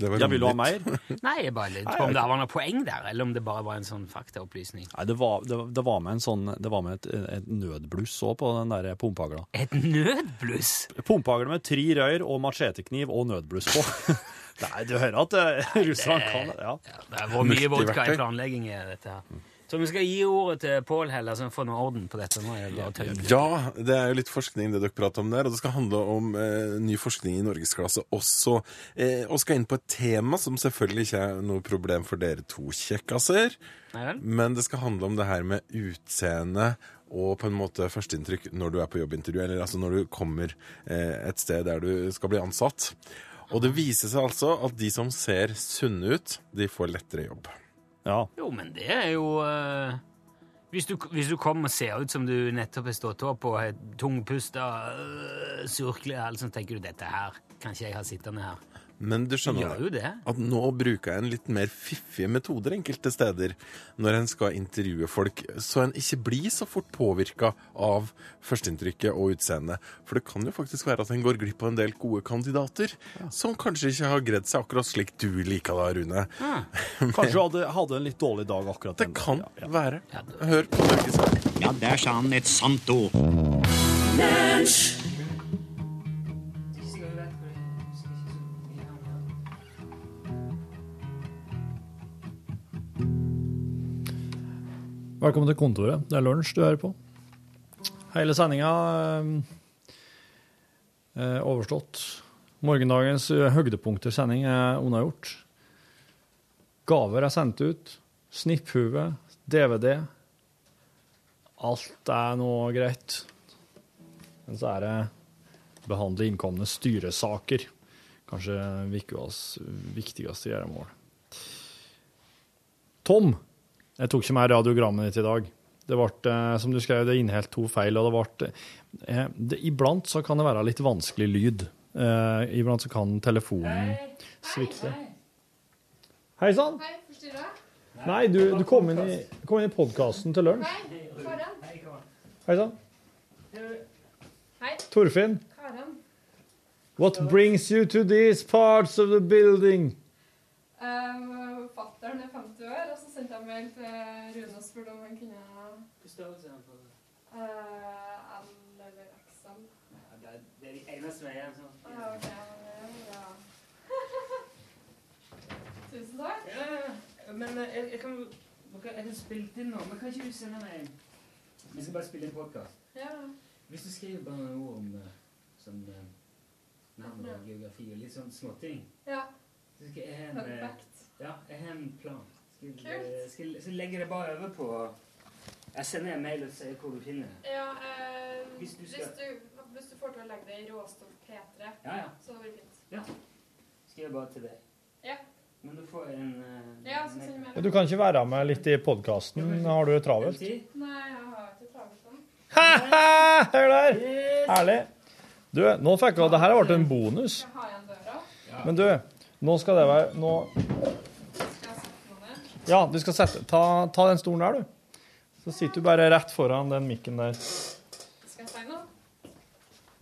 var ja, vil du ha romlyd. mer? Nei, jeg bare lurte på om det var noe poeng der, eller om det bare var en sånn faktaopplysning. Nei, det var, det, det var med en sånn Det var med et, et nødbluss òg på den der pumpehagla. Et nødbluss? Pumpehagle med tre røyr og machetekniv og nødbluss på. [LAUGHS] Nei, du hører at eh, russerne kan det. Ja. Det var mye vodka i planleggingen i dette her. Så vi skal gi ordet til Pål heller, så vi får noe orden på dette. Nå er det bare tøyd. Ja, det er jo litt forskning det dere prater om der, og det skal handle om eh, ny forskning i norgesklasse også. Eh, og skal inn på et tema som selvfølgelig ikke er noe problem for dere to kjekkaser, Nei vel? men det skal handle om det her med utseende og på en måte førsteinntrykk når du er på jobbintervju, eller altså når du kommer eh, et sted der du skal bli ansatt. Og det viser seg altså at de som ser sunne ut, de får lettere jobb. Ja. Jo, men det er jo eh, hvis, du, hvis du kommer og ser ut som du nettopp har stått opp og har tungpusta, uh, surkle og alt sånt, tenker du dette her kan ikke jeg ha sittende her. Men du skjønner Gjør jo det. at nå bruker jeg en litt mer fiffige metoder enkelte steder når en skal intervjue folk, så en ikke blir så fort påvirka av førsteinntrykket og utseendet. For det kan jo faktisk være at en går glipp av en del gode kandidater som kanskje ikke har gredd seg akkurat slik du liker da, Rune. Kanskje du hadde, hadde en litt dårlig dag akkurat den Det kan være. Hør på dere selv. Ja, der sa han et sant ord. Velkommen til kontoret. Det er lunsj du hører på. Hele sendinga eh, overstått. Morgendagens eh, høydepunkter-sending er unnagjort. Gaver er sendt ut. Snipphue, DVD. Alt er nå greit. Men så er det behandle innkomne styresaker. Kanskje ukas viktigste gjøremål. Tom, jeg tok ikke med radiogrammet ditt i dag. Det ble, eh, som du skrev, det inneholdt to feil, og det ble eh, det, Iblant så kan det være litt vanskelig lyd. Eh, iblant så kan telefonen svikte. Hei sann! Hei, forstyrra? Nei, du, du kom inn i, kom inn i podkasten til lunsj. Hei, Karan. Hei sann. Hei. Torfinn. Karan. What brings you to these parts of the building? Um, Fattern er 50 år, og så sendte jeg mail til Rune og spurte om han kunne Eh, L eller XL. Det er de eneste som er igjen sånn. Ja, ok, men det er bra. [LAUGHS] Tusen takk. Men eh, jeg, kan spilt inn nå, men kan ikke du sende meg en? Vi skal bare spille en podkast. Ja. Hvis du skriver bare noen ord om sånn navn og geografi og litt sånn småting ja. Så skal jeg ha en, Fun eh, ja, jeg har en plan. Skal, Kult. skal, så legger jeg det bare over på Jeg sender en mail og sier hvor du finner det. Ja, eh, Hvis du hvis, du skal- hvis, du, får til å legge det i råstoff P3, Ja, ja. så blir det fint. Ja. Skriver bare til deg. Ja. Men du får en eh, Ja, så sender jeg Du kan ikke være med litt i podkasten. Har du det travelt? Nei, jeg har ikke travelt sånn. Ha-ha! Hør der! Herlig. Du, nå fikk jeg, det her ble en bonus. Men du, nå skal det være nå... Ja, du skal sette ta, ta den stolen der, du. Så sitter du bare rett foran den mikken der. Skal jeg si noe?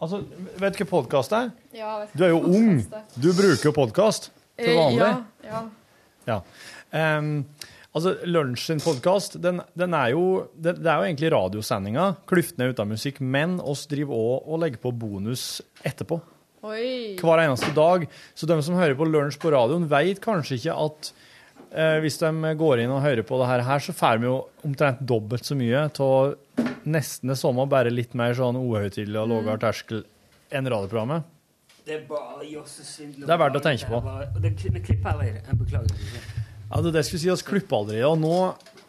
Altså, Vet du hva podkast er? Ja, jeg vet Du er jo hva ung. podcast er. Du bruker podkast til Eh, vanlig. Ja, ja. Ja. Em, altså, Lunsj sin podkast, den, den er jo det, det er jo egentlig radiosendinga. Klyftene uten musikk. Men oss driver òg og legger på bonus etterpå. Oi. Hver eneste dag. Så de som hører på Lunsj på radioen, veit kanskje ikke at eh, hvis de går inn og hører på det her, her, så får vi jo omtrent dobbelt så mye av nesten det samme, bare litt mer sånn uhøytidelig og lavere terskel enn radioprogrammet. Det er bare jossesvindel. Det er verdt å tenke på. Det er bare- det klipper allerede. Jeg beklager. Ja, det, er det jeg skulle si oss klippe aldri. Og nå,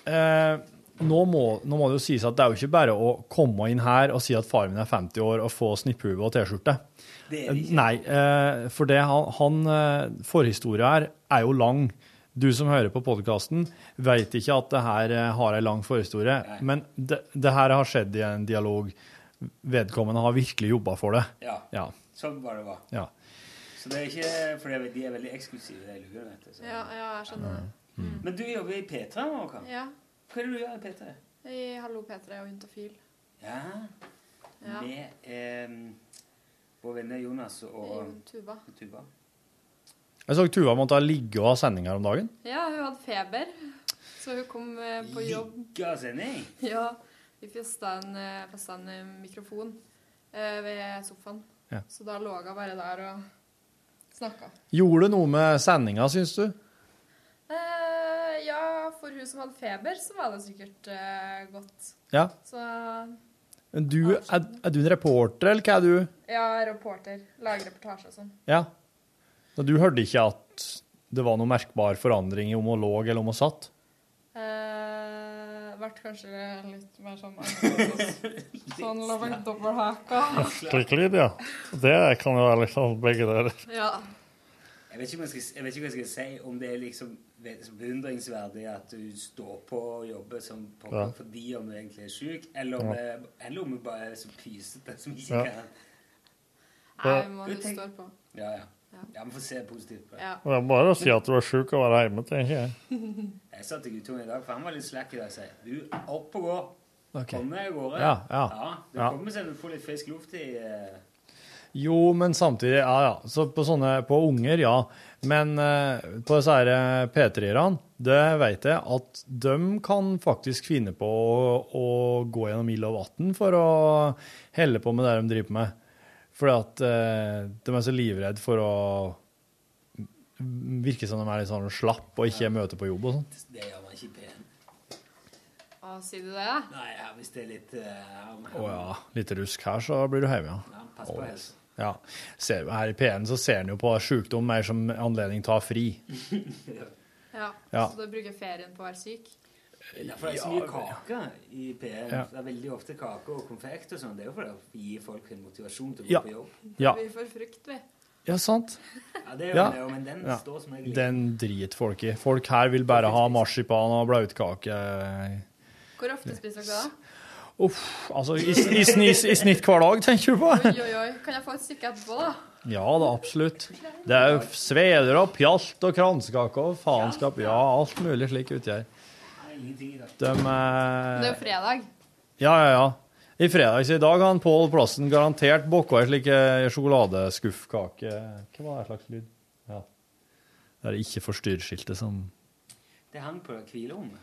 eh, nå, må, nå må det jo sies at det er jo ikke bare å komme inn her og si at faren min er 50 år og få snipphue og T-skjorte. Det er det ikke. Nei, eh, for det han, han eh, forhistoria her er jo lang. Du som hører på podkasten, veit ikke at det her eh, har ei lang forhistorie, men det, det her har skjedd i en dialog. Vedkommende har virkelig jobba for det. Ja. ja. Sånn bare det var. ja. Så det er ikke fordi de er veldig eksklusive, de lurene. vet du, så- Ja, ja, jeg skjønner det. Mm. Men du jobber i P3 nå, Håkan. Ja. Hva er det du gjør i P3? I Hallo P3 og Juntafil. Ja. Ja. Med eh, vår venner Jonas og Tuba. Tuba. Jeg så Tuva måtte ha ligge og ha sending her om dagen. Ja, hun hadde feber, så hun kom eh, på jobb. Ligga sending? [LAUGHS] Ja, vi festa en, eh, festet en eh, mikrofon eh, ved sofaen. Ja. Så da lå hun bare der og snakka. Gjorde det noe med sendinga, syns du? Eh, ja, for hun som hadde feber, så var det sikkert eh, godt. Ja. Så Men du, er, er du en reporter, eller hva er du? ja, reporter. Lager reportasje og sånn. Ja. Så du hørte ikke at det var noen merkbar forandring i om hun lå eller om hun satt? Eh, vært kanskje litt mer sånn annerledes. Sånn la meg dobbelthaka. Efterklid, ja. Det kan jo være liksom begge deler. Ja. Jeg vet, ikke om jeg, skal, jeg vet ikke hva jeg skal si, om det er liksom vet- så beundringsverdig at du står på og jobber som pokker Ja. fordi om du egentlig er syk, eller om, Ja. det- eller om du bare er så pysete som ikke Ja. kan Nei, man Du tenk- står på. Ja, ja. Ja, Vi får se positivt på det. Ja. Det er bare å si at du er sjuk og være hjemme, tenker jeg. Jeg sa til guttungen i dag, for han var litt slack i dag, sa jeg. Du, opp og gå. Ok. Kom deg av gårde. Ja, ja. det Ja. kommer seg til å få litt frisk luft i eh, Jo, men samtidig, ja ja. Så på sånne, på unger, ja. Men eh, på disse her, eh, P3-erne, det vet jeg at de kan faktisk finne på å, å gå gjennom ild og vann for å helle på med det de driver med. Fordi at eh, de er så livredde for å virke som de er litt sånn slapp og ikke møter på jobb og sånn. Det gjør man ikke pen. Å, sier du det? Nei, ja, hvis det er litt eh, om- Å ja. Litt rusk her, så blir du hjemme, ja. Pass på [LAUGHS] helsa. ja. Ser, her i P1 så ser en jo på sjukdom mer som anledning til å ha fri. Ja. Ja. Så du bruker ferien på å være syk? Derfor er det så mye kake i P1. Ja. Det er veldig ofte kake og konfekt og sånn. Det er jo for å gi folk en motivasjon til å gå Ja. på jobb. Ja. Vi får frukt, vi. Ja, sant? Ja, det gjør det jo, men den står som regel ikke. Den driter folk i. Folk her vil bare ha marsipan og blautkake. Hvor ofte spiser dere det? Uff, altså i, i, snitt- i snitt hver dag, tenker du Oi, på? oi, oi. Kan jeg få et stykke etterpå, da? Ja da, absolutt. Det er jo sveder og pjalt og kransekake og faenskap. Ja, alt mulig slik uti her. De Men det er jo eh, fredag. Ja, ja, ja. I fredags i dag har Pål Plassen garantert bokka ei slik eh, sjokoladeskuffkake. Hva var det slags lyd? Ja. Det er ikke forstyrrskiltet som Det hang på hvilerommet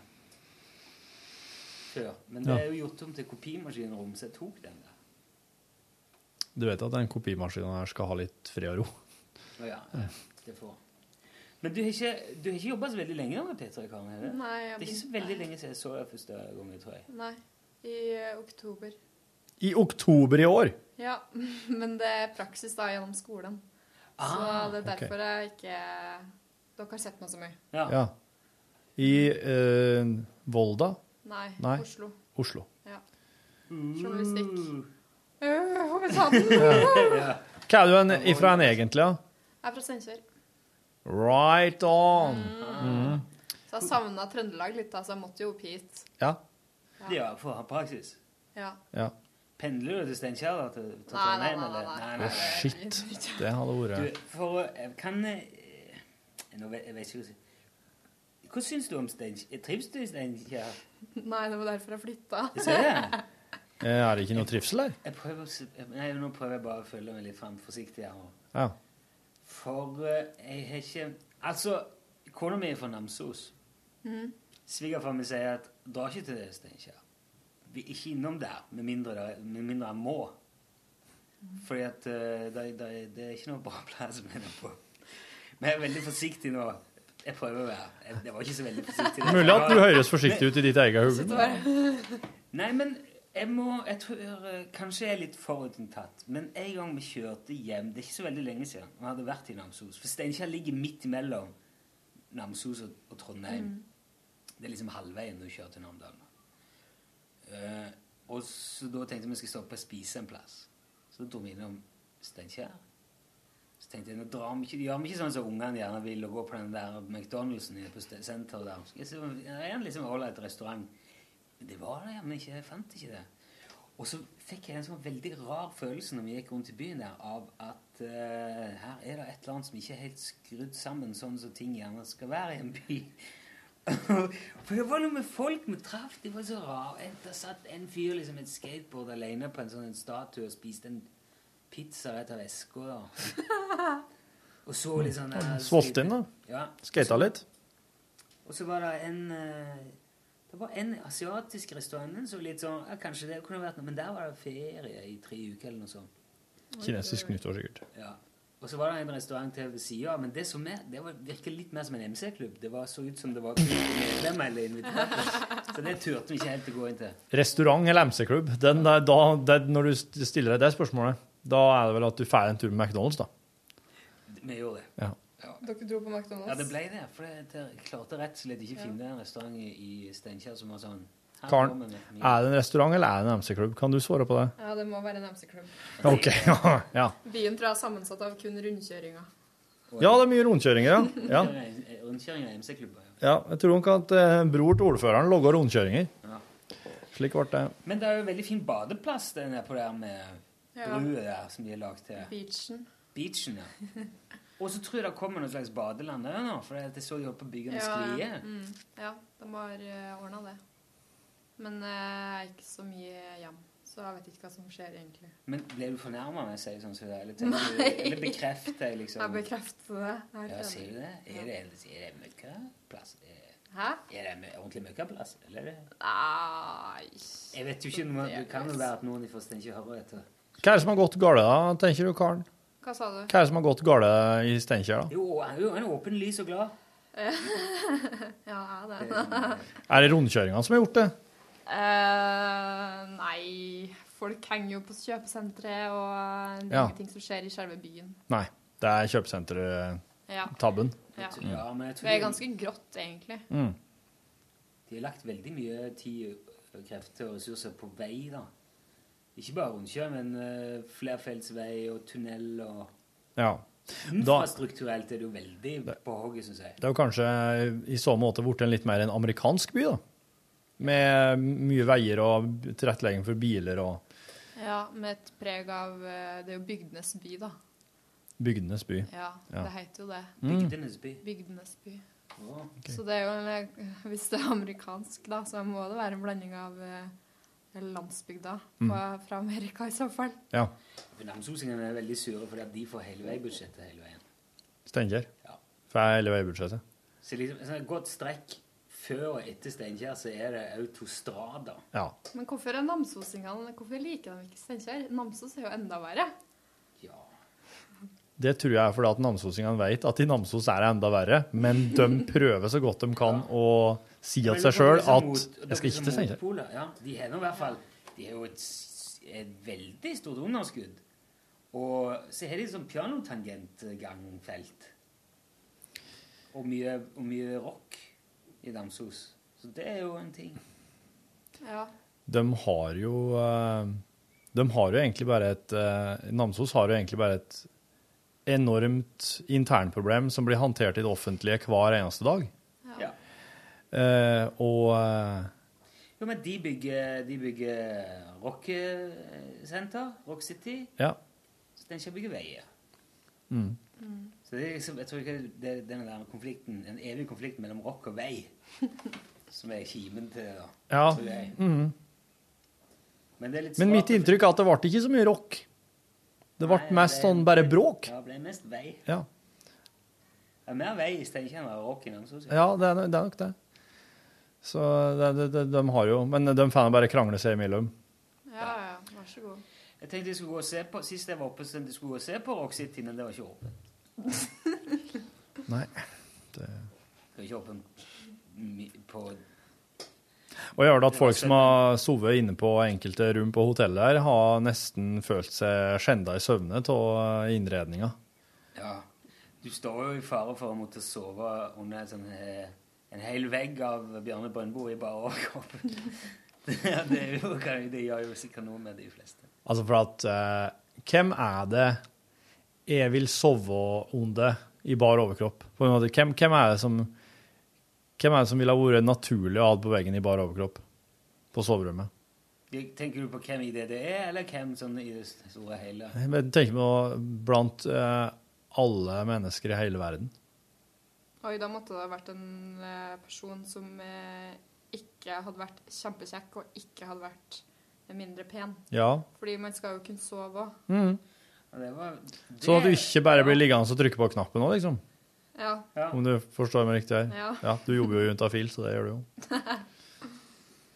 før. Men Ja. det er jo gjort om til kopimaskinrom, så jeg tok den der. Du vet at den kopimaskinen her skal ha litt fred og ro. Å ja, det får. Men du har ikke, du har ikke jobba så veldig lenge da med P3 Karen? har du? Nei, jeg det er ikke så begynte- veldig lenge siden jeg så deg første gangen, tror jeg. Nei. I eh, oktober. I oktober i år. Ja. Men det er praksis da gjennom skolen. Ah, så det er ok. derfor jeg ikke Dere har sett meg så mye. Ja. I eh, Volda? Nei, Oslo. Oslo. Ja. Journalistikk. Øh, hovedstaden! Ja. Hva er du en, ifra en egentlig, da? Jeg er fra Steinkjer. Right on! Mm. Mhm. Så jeg savna Trøndelag litt, da, så jeg måtte jo opp hit. Ja. Ja, for å ha praksis. Ja. ja. Pendler du til Steinkjer? da, til- til Nei, nei, Trondheim, nei, eller? nei, nei. nei. Å, shit. Det hadde vært Du, for, å- eh, kan eh, Nå vet jeg vet ikke hva jeg skal si. Hva syns du om Steinkjer? Trives du i Steinkjer? Nei, det var derfor jeg flytta. Jeg ser det. Eh, Er det ikke noe trivsel her? Jeg prøver, å s- nei, nå prøver jeg bare å følge meg litt fram forsiktig her. nå. Ja. For eh, jeg har ikke Altså, kona mi er fra Namsos. Mhm. Svigerfar min sier at dra ikke til Steinkjer. Vi er ikke innom der med mindre, det- med mindre han må. Fordi at eh, det, det, det er ikke noe bra plass med det på. Men jeg er veldig forsiktig nå. Jeg prøver å være jeg, Det var ikke så veldig forsiktig. Mulig at du høres forsiktig ut i ditt eget hode. Nei, men jeg må jeg tror, eh, Kanskje jeg er litt forutinntatt, men en gang vi kjørte hjem Det er ikke så veldig lenge siden vi hadde vært i Namsos. For Steinkjer ligger midt imellom Namsos og, og Trondheim. Det er liksom halvveien når du kjører til Namdalen. Eh, og så da tenkte jeg vi skulle stoppe og spise en plass. Så dro vi innom Steinkjer. Så tenkte jeg, nå drar vi ikke, gjør vi ikke sånn som ungene gjerne vil, og går på den der McDonald'sen nede på Ste- senteret der. Skal jeg se om- Det er en liksom ålreit restaurant. Men det var det jammen ikke. Jeg fant ikke det. Og så fikk jeg en sånn veldig rar følelse når vi gikk rundt i byen der, av at eh, her er det et eller annet som ikke er helt skrudd sammen sånn som ting gjerne skal være i en by. [LAUGHS] For det var noe med folk vi traff. Det var så rart. Der satt en fyr liksom med et skateboard alene på en sånn en statue og spiste en pizza rett av eska. da. Og så litt sånn eh, Svolt inn, Mm. da. Ja. Skata litt. Og så var det en eh, Det var en asiatisk restaurant den så litt sånn ja, Kanskje det kunne vært noe, men der var det ferie i tre uker eller noe sånt. Kinesisk nyttår, sikkert. Ja. Og så var det en restaurant til ved sida, men det, som er, det var, virket litt mer som en MC-klubb. Det var, så ut som det var kun medlemmer eller inviterte. Så det turte vi ikke helt å gå inn til. Restaurant eller MC-klubb? Den der- da- det- Når du st- stiller deg det spørsmålet, da er det vel at du får en tur med McDonald's, da. Vi gjorde det. Ja. Dere dro på McDonald's? Ja, det ble det. For det, jeg klarte rett og slett ikke å finne en restaurant i i Steinkjer som var sånn her Karen, går vi med er det en restaurant eller er det en MC-klubb? Kan du svare på det? Ja, det må være en MC-klubb. OK. Ja, Byen tror jeg er sammensatt av kun rundkjøringer. ja det er mye rundkjøringer, ja. ja. Rundkjøring av MC-klubber. Ja, jeg tror nok at eh, bror til ordføreren logger rundkjøringer. Ja. Slik ble det. Men det er jo en veldig fin badeplass den der på der med Ja. brua der som de har lagd til Beachen. beachen. [LAUGHS] ja. Og så tror jeg det kommer noe slags badeland der nå, for jeg så de holdt på å bygge en sklie. mm, ja, de har uh, ordna det. Men eh, jeg er ikke så mye hjem, så jeg vet ikke hva som skjer egentlig. Men ble du fornærma når jeg sier sånn som det? Eller, tenker du, Nei. eller bekrefter jeg liksom Jeg bekrefter det. Jeg er Ja, helt sier enig. du det? Er det, er det, er det møkkaplass? Er, Hæ? er det mø- ordentlig møkkaplass? Eller er det Nei Jeg vet jo ikke. om- Det kan jo være at noen i Forsten ikke hører etter. Hva er det som har gått galt, da, tenker du, Karen? Hva sa du? Hva er det som har gått galt i Steinkjer, da? Jo, han er jo han er åpen, lys og glad. [LAUGHS] ja, jeg er det. Er det rundkjøringene som har gjort det? Eh, nei, folk henger jo på kjøpesentre, og eh, det er Ja. ingenting som skjer i selve byen. Nei, det er kjøpesentertabben. Ja. Ja. Ja, men jeg tror Det er ganske grått, egentlig. Mm. De har lagt veldig mye tid, og krefter og ressurser på vei, da. Ikke bare rundkjør, men eh, flerfeltsvei og tunnel og Ja. Da, Infrastrukturelt er det jo veldig på hogget, syns jeg. Det er jo kanskje i så måte blitt en litt mer en amerikansk by, da. Med mye veier og tilrettelegging for biler og Ja, med et preg av eh, Det er jo bygdenes by, da. bygdenes by. Ja, det heter jo det. Mm. Bygdenes by. Bygdenes by. Så det er jo en, Hvis det er amerikansk, da, så må det være en blanding av eh, landsbygda Mm. fra- fra Amerika, i så fall. Ja. For Namsosingene er veldig sure fordi at de får hele veibudsjettet hele veien. Steinkjer. Fra hele veibudsjettet. Så liksom, sånn et godt strekk før og etter Steinkjer så er det autostrada. Ja. Men hvorfor er namsosingene Hvorfor liker de ikke Steinkjer? Namsos er jo enda verre. Det tror jeg er fordi at namsosingene vet at i Namsos er det enda verre, men de [LAUGHS] prøver så godt de kan å si til seg sjøl liksom at jeg skal ikke til Steinkjer. Ja, de har nå i hvert fall De har jo et, s- et veldig stort underskudd. Og så har de sånn pianotangentgangfelt. Og mye, og mye rock i Namsos. Så det er jo en ting. Ja. De har jo eh, De har jo egentlig bare et eh, Namsos har jo egentlig bare et enormt internproblem som blir håndtert i det offentlige hver eneste dag. Ja. Eh, og eh, Jo, men de bygger, de bygger rockesenter, Rock City. Ja. Så Steinkjer bygger veier. Mm. Så det er liksom, jeg tror ikke det er den der konflikten, den evige konflikten mellom rock og [LAUGHS] vei som er kimen til det. Ja. tror jeg. Mhm. Men det er litt Men mitt svart- inntrykk er at det ble ikke så mye rock. Det ble mest sånn bare bråk. Ja, det ble mest vei. Ja, Det er mer vei i Steinkjer enn det er rock i Namsos. ja det, er, det er nok det. Så det, det, det, de har jo Men de får bare krangle seg imellom. Ja, ja. Vær så god. Jeg tenkte jeg skulle gå og se på, Sist jeg var oppe, så tenkte jeg skulle gå og se på Rock City, men det var ikke åpent. Nei. Det... Det var ikke åpent mi- på Og gjør det at folk som har sovet inne på enkelte rom på hotellet her, har nesten følt seg skjenda i søvne av innredninga. Ja. Du står jo i fare for å måtte sove under en, sånn, eh, en hel vegg av Bjarne Brøndbo i bare overkropp. [LAUGHS] Det, det, er jo- kan- det gjør jo sikkert noe med de fleste. Altså for at eh, Hvem er det jeg vil sove under i bar overkropp? På en måte, hvem, hvem er det som hvem er det som ville ha vært naturlig å ha det på veggen i bar overkropp på soverommet? Tenker du på hvem i det det er, eller hvem sånn i det store og hele? Jeg tenker på blant eh, alle mennesker i hele verden. Oi, da måtte det ha vært en eh, person som eh, ikke hadde vært kjempekjekk, og ikke hadde vært mindre pen. Ja. Fordi man skal jo kunne sove òg. Mhm. Det var, Så at du ikke bare blir liggende og trykke på knappen nå, liksom. Ja. Om du forstår meg riktig her? Ja. du jobber jo rundt av fil, så det gjør du jo.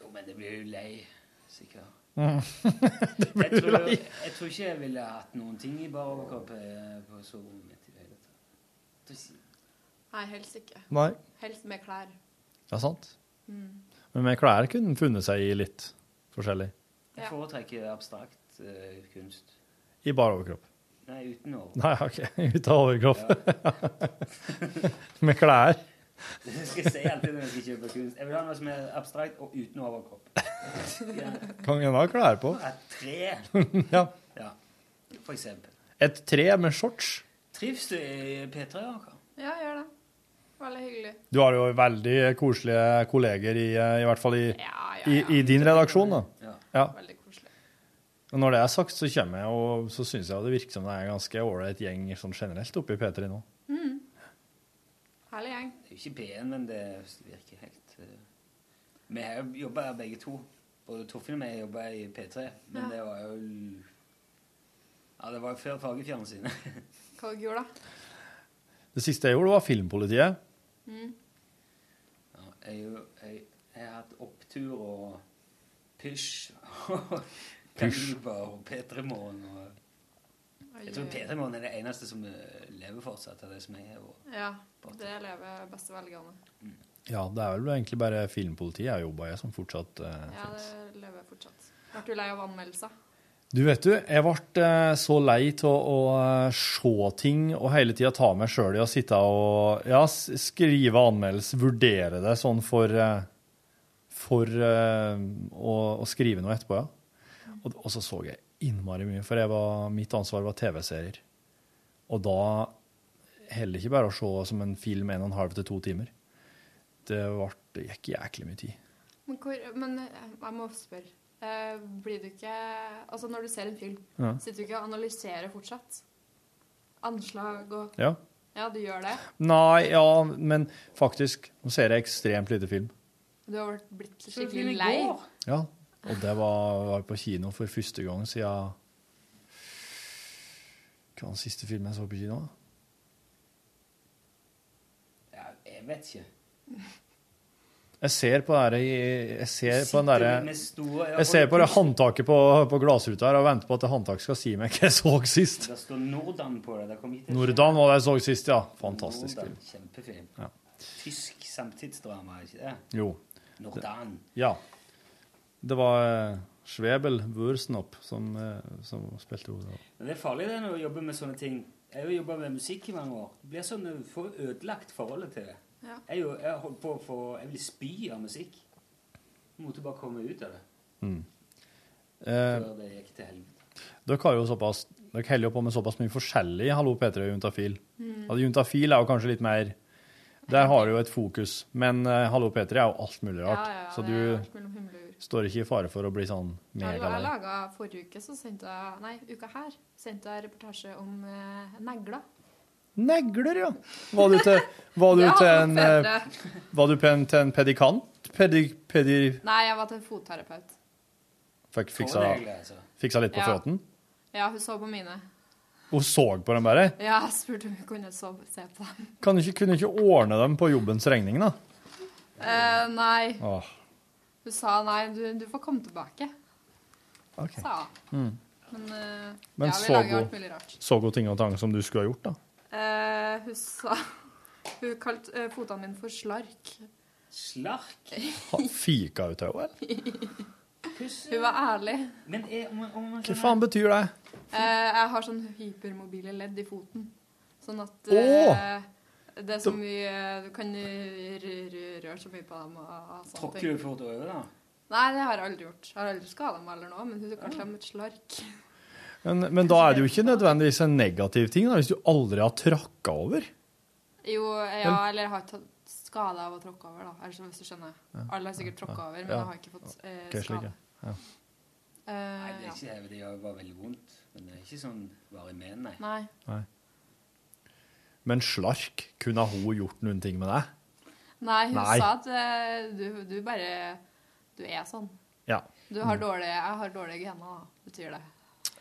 Jo, men det blir jo lei, sikkert. Mm. [LAUGHS] Det blir jeg, tror, jo lei. jeg tror ikke jeg ville hatt noen ting i bare overkropp eh, på soverommet mitt i det hele tatt. Det er ikke- Nei, helst ikke. Nei. Helst med klær. Ja, sant. Mm. Men med klær kunne den funnet seg i litt forskjellig. Jeg foretrekker abstrakt eh, kunst. I bar overkropp. [LAUGHS] Nei, uten over. Nei, OK. Ut av overkropp. [LAUGHS] med klær. Jeg skal si alltid når jeg skal kjøpe kunst. Jeg vil ha noe som er abstrakt og uten overkropp. Gjerne. Kan en ha klær på? Et tre. [LAUGHS] ja. Ja. For eksempel. Et tre med shorts. Trives du i P3, Anka? Ja, gjør det. Veldig hyggelig. Du har jo veldig koselige kolleger, i, eh, i hvert fall i, ja, i, ja. i din redaksjon. da. Ja. Veldig koselig. Og når det er sagt, så kommer jeg, og så syns jeg det virker som det er en ganske ålreit gjeng sånn generelt oppe i P3 nå. Mm. Herlig gjeng. Det er jo ikke P1, men det virker helt eh. Vi har jo jobba her begge to. Både Torfinn og jeg jobba i P3, men Ja. det var jo l- Ja, det var jo før [LAUGHS] fargefjernsynet. Hva dere gjorde da? Det siste jeg gjorde, var Filmpolitiet. Mm. Ja, jeg, er jo- jeg, jeg har hatt opptur og pysj [LAUGHS] og Kaliber og P3 Morgen og Jeg tror P3 Morgen er det eneste som eh, lever fortsatt av det som jeg har vært. Ja, det lever beste velgående. Ja, det er vel egentlig bare Filmpolitiet jeg jobba i, som fortsatt eh, Ja, det lever fortsatt. Ble du lei av anmeldelser? Du vet du, jeg ble eh, så lei av å eh, se ting og hele tida ta meg sjøl i å sitte og ja, s- skrive anmeldelse, vurdere det sånn for eh, For eh, å, å skrive noe etterpå, ja. Og, og så så jeg innmari mye, for jeg var, mitt ansvar var TV-serier. Og da heller ikke bare å se som en film en og en halv til to timer. Det, ble, eh, det gikk jæklig mye tid. Men, hvor, men eh, jeg må spørre. Eh, Blir du ikke Altså, når du ser en film, Ja. sitter du ikke og analyserer fortsatt? Anslag og Ja. Ja, du gjør det? Nei, ja, men faktisk Nå ser jeg ekstremt lite film. Du har vært- blitt du film i skikkelig lei? går? Ja, og det var, var på kino for første gang siden Hva var den siste filmen jeg så på kino? da? Ja, jeg vet ikke. Jeg ser på det der- Jeg ser på den Sitter derre du med store- Jeg ser på det håndtaket på, på glassruta her og venter på at det håndtaket skal si meg hva jeg så sist. Det står Nordan på det. det kom hit en Nordan var det jeg så sist, ja. Fantastisk film. Nordan, Kjempefilm. Ja. Tysk samtidsdrama, er ikke det? Jo. Nordan. Ja. Det var eh, Schwebel Wursnop som, eh, som spilte hovedrollen. Men det er farlig det når du jobber med sånne ting. Jeg har jo jobba med musikk i mange år. Det blir sånn, Du får ødelagt forholdet til det. Ja. Jeg, er jo, jeg holdt på å få Jeg vil spy av musikk. Jeg måtte bare komme ut av det Mm. før Eh, det gikk til helvete. dere har jo såpass Dere holder jo på med såpass mye forskjellig i Hallo P3 og Juntafil. Mm. At Juntafil er jo kanskje litt mer Der har du jo et fokus. Men eh, Hallo P3 er jo alt mulig rart. Ja, ja, ja, så det du er alt mellom himmel og jord. Står ikke i fare for å bli sånn Jeg, jeg megalei. laga forrige uke, så sendte jeg Nei, uka her sendte jeg reportasje om eh, negler. Negler, ja! Var du til, var du Det til hadde en, vært eh, bedre. var du pen- til en pedikant? Pedi, pedi, Nei, jeg var til en fotterapeut. fikk fiksa, Tånegler, altså. fiksa litt på Ja. føttene? Ja, hun så på mine. Hun så på dem bare? Ja, jeg spurte om hun kunne sove, se på dem. Kan du ikke, kunne du ikke ordne dem på jobbens regning, da? Eh, nei. Åh, Hun sa nei, du, du får komme tilbake. ok. Sa Mm. hun. Men, eh, Men ja, vi så, lager alt god, mulig rart. så god ting og tang som du skulle ha gjort, da. Eh, hun sa Hun kalte eh, fotene mine for slark. Slark? [LAUGHS] Ha, fika ut av henne? hun var ærlig. Men er, om, om, sånn- Hva faen betyr det? Eh, jeg har sånn hypermobile ledd i foten. Sånn at Åh! eh, det er så mye eh, Du kan r- r- røre så mye på dem og og sånne Tråkker ting. du fort over, da? Nei, det har jeg aldri gjort. Jeg har aldri skada meg eller noe, men hun kalte dem et slark. Men, men da er det jo ikke nødvendigvis en negativ ting, da, hvis du aldri har tråkka over. Jo, ja, Men- eller jeg har tatt skade av å tråkke over, da. Eller så, hvis du skjønner. Ja, Alle har sikkert tråkka over, men ja. jeg har ikke fått eh, Ok, slik, skade. ja. Ja. Eh, Nei, det ja. er ikke det. Det gjør bare veldig vondt. Men det er ikke sånn varig men, nei. Nei. Nei. Men slark, kunne hun gjort noen ting med deg? Nei, hun Nei. sa at eh, du, du bare Du er sånn. Ja. Du har dårlige, jeg har dårlige gener, da, betyr det.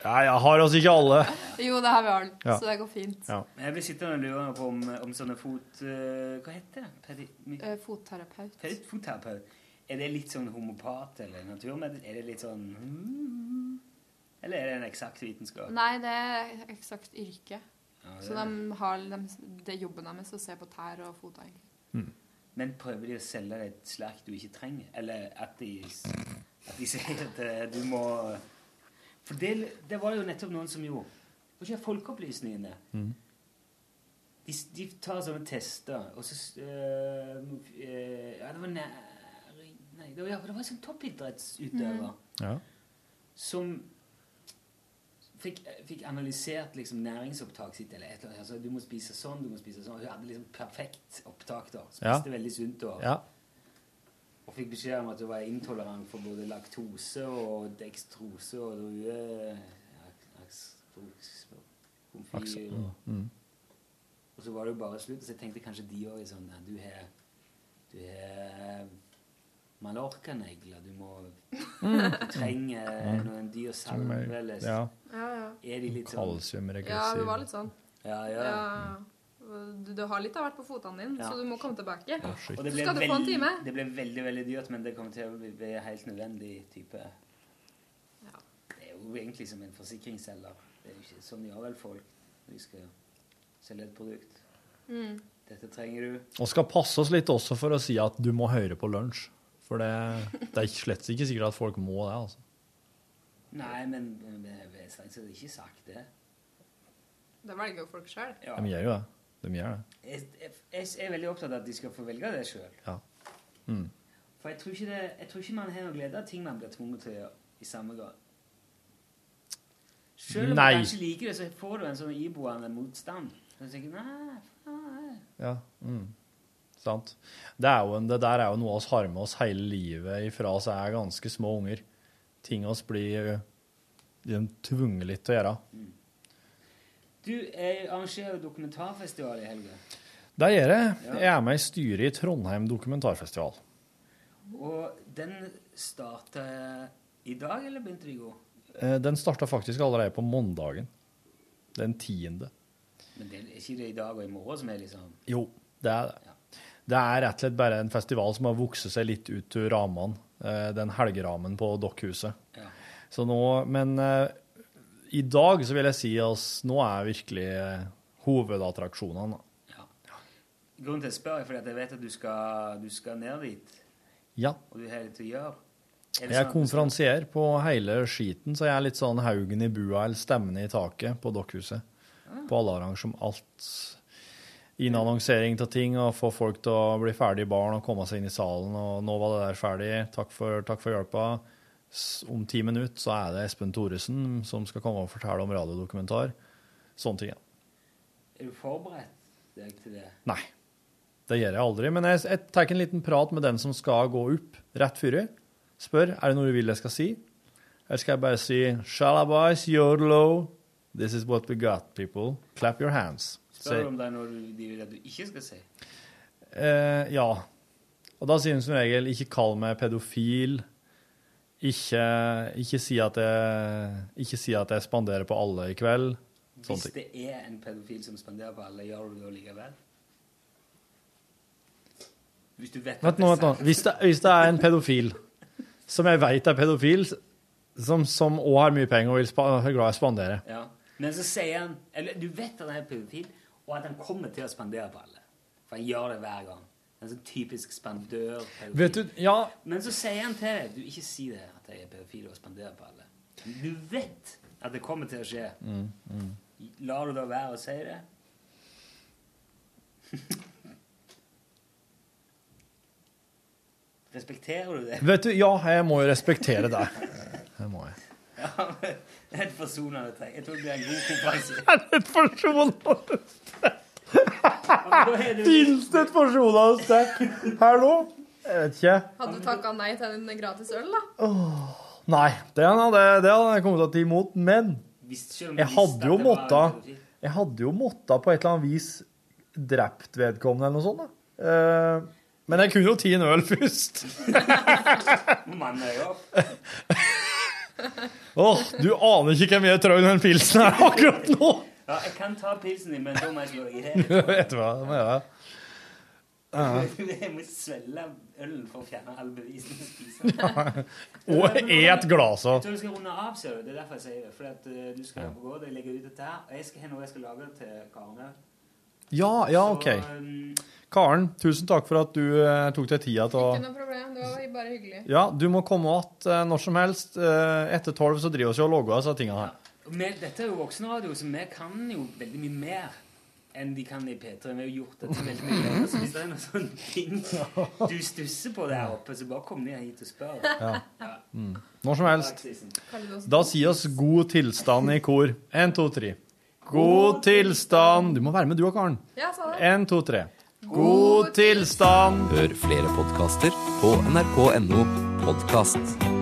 ja, jeg har oss ikke alle. Jo, det har vi alle, Ja. så det går fint. Ja. Men Jeg blir sittende og lure på om, om sånne fot... eh, hva heter det? Pedi, mi- Eh, fotterapeut. pedi, fotterapeut. Er det litt sånn homopat eller naturmedisin? Er det litt sånn mm, Eller er det en eksakt vitenskap? Nei, det er eksakt yrke. Ja, det Så er- de har dem- det er jobben deres å se på tær og fot, egentlig. Men prøver de å selge deg et slark du ikke trenger? Eller at de, s- at de sier at eh, du må For det, det var jo nettopp noen som gjorde Var ikke det Folkeopplysningene? Mhm. De, s- de tar sånne tester, og så s- eh, mot- eh, Ja, det var næ... Nei, det var, ja, det var en sånn toppidrettsutøver Ja. som fikk, fikk analysert liksom næringsopptaket sitt. eller et eller annet. Altså, Du må spise sånn, du må spise sånn. Hun hadde liksom perfekt opptak. da. Ja. Spiste veldig sunt. Og, Ja. og fikk beskjed om at hun var intolerant for både laktose og dekstrose og drue... ja, lakstrose, Laks- Komfyr mm, mm. Og så var det jo bare slutt. Så jeg tenkte kanskje de òg sånn nei, Du har Du har Mallorca-negler. Du må Mm. Du trenger Mm. noen dyr Som salve er- eller ja. Ja, ja. Er de litt sånn Ja, Kalsiumregressiv. hun var litt sånn. Ja, ja. Du, du har litt av hvert på fotene dine, Ja. så du må komme tilbake. Ja, Så Og det ble, skal du få veldig, en time. det ble veldig veldig dyrt, men det kommer til å bli, bli helt nødvendig type Det er jo egentlig som en forsikringsselger. Det er jo ikke sånn gjør vel folk når de skal selge et produkt. Mm. Dette trenger du. Og skal passe oss litt også for å si at du må høre på lunsj. For det, det er ikke- slett ikke sikkert at folk må det. altså. Nei, men men jeg er strengt tatt ikke sagt det. Det velger jo folk sjøl. Ja. De gjør jo det. De gjør det. Jeg, jeg, jeg er veldig opptatt av at de skal få velge det sjøl. Ja. Mm. For jeg tror, ikke det, jeg tror ikke man har noe glede av ting man blir tvunget til å gjøre i samme grad. Selv om Nei. du kanskje liker det, så får du en sånn iboende motstand. Så du tenker nei, faen, Ja. Mm. Sant. Det, er jo en, det der er jo noe oss har med oss hele livet ifra oss er ganske små unger. Ting oss blir eh, de tvunget litt til å gjøre. Du jeg arrangerer jo dokumentarfestival i helga. Der gjør jeg. Jeg er med i styret i Trondheim dokumentarfestival. Og den starta i dag, eller begynte det i går? Eh, Den starta faktisk allerede på mandagen. Den tiende. Men det er ikke det i dag og i morgen som er liksom Jo, det er det. Det er rett og slett bare en festival som har vokset seg litt ut av rammene. eh, Den helgerammen på Dokkhuset. Ja. Så nå, men eh, i dag så vil jeg si at nå er virkelig eh, hovedattraksjonene. da. Grunnen til at jeg spør, er fordi at jeg vet at du skal, du skal ned dit, Ja. og du har litt å gjøre. Er Jeg det sånn at du skal- konferansier på hele skiten, så jeg er litt sånn haugen i bua eller stemmen i taket på Dokkhuset. Ah. På alle arrangement. Alt. Innannonsering av ting og få folk til å bli ferdig i baren og komme seg inn i salen. Og nå var det der ferdig. Takk for, takk for hjelpa. S- Om ti minutter så er det Espen Thoresen som skal komme og fortelle om radiodokumentar. Sånne ting. ja. Er du forberedt deg til det? Nei. Det gjør jeg aldri. Men jeg, jeg tar en liten prat med den som skal gå opp rett før. Spør er det noe du vil jeg skal si. Eller skal jeg bare si Shalabais, yodelo, this is what we got, people. Clap your hands. Spør Say- du om det er noe du- de vil at du ikke skal si? Eh, ja. Og da sier hun som regel 'ikke kall meg pedofil', ikke, ikke, si at jeg, 'ikke si at jeg spanderer på alle i kveld'. Sånne Hvis ting. det er en pedofil som spanderer på alle, gjør du det likevel? Hvis du vet at Vent det nå, er vent nå. sant. Hvis det, hvis det er en pedofil som jeg veit er pedofil, som, som også har mye penger og vil spa, er glad i å spandere Ja. Men så sier han Eller du vet at han er pedofil, og at han kommer til å spandere på alle. For han gjør det hver gang. En sånn typisk spandør Vet du, ja, Men så sier han til deg Du, ikke si det at jeg er pedofil og spanderer på alle. Du vet at det kommer til å skje. Mm, Lar du da være å si det? [LAUGHS] Respekterer du det? [LAUGHS] Vet du, ja, jeg må jo respektere deg. Det må jeg. Ja, men det er et forsonende trekk. Jeg tror det blir en god [LAUGHS] konferanse. Er det et forsonende strekk? Fins det et forsonende strekk her nå? Jeg vet ikke. Hadde du takka nei til en gratis øl, da? Nei, det hadde, det hadde jeg kommet til å ta imot. Men selv om jeg du visste hadde jo at det var måtta en pedofil. Jeg hadde jo måtta på et eller annet vis drept vedkommende eller noe sånt. da. Eh, men jeg kunne jo tatt en øl [LAUGHS] først. Mannen er jo opp. Åh, Du aner ikke hvem jeg trøyer den pilsen her akkurat nå! [LAUGHS] Ja, jeg kan ta pilsen din, men da må jeg slå deg i Vet hjel. du hva? Det må jeg gjøre. Ja. [LAUGHS] Jeg må svelge ølen for å fjerne all bevisene jeg spiser. [LAUGHS] Og et glass Jeg av. tror du skal runde av, ser du. Det er derfor jeg sier det. Fordi at eh, du skal på gård, jeg legger ut dette her, og jeg skal ha noe jeg skal lage til Karne. Ja, ja, OK. eh, Karen, tusen takk for at du eh, tok deg tida til å Ikke noe problem. Det var bare hyggelig. Ja, du må komme igjen når som helst. Eh, Etter tolv så driver vi og logger oss av tingene her. Og vi- Dette er jo voksenradio, så vi kan jo veldig mye mer enn de kan i P3. Vi har jo gjort dette veldig mye lenger, så hvis det er noen sånne [LAUGHS] ting du stusser på der oppe, så bare kom ned hit og spør. [LAUGHS] Ja. Mm. Når som helst. Praksisen. Da sier oss 'god tilstand' i kor. Én, to, tre. God tilstand Du må være med, du og Karen. Ja, sa det. Én, to, tre. God tilstand. Hør flere podkaster på nrk.no podkast.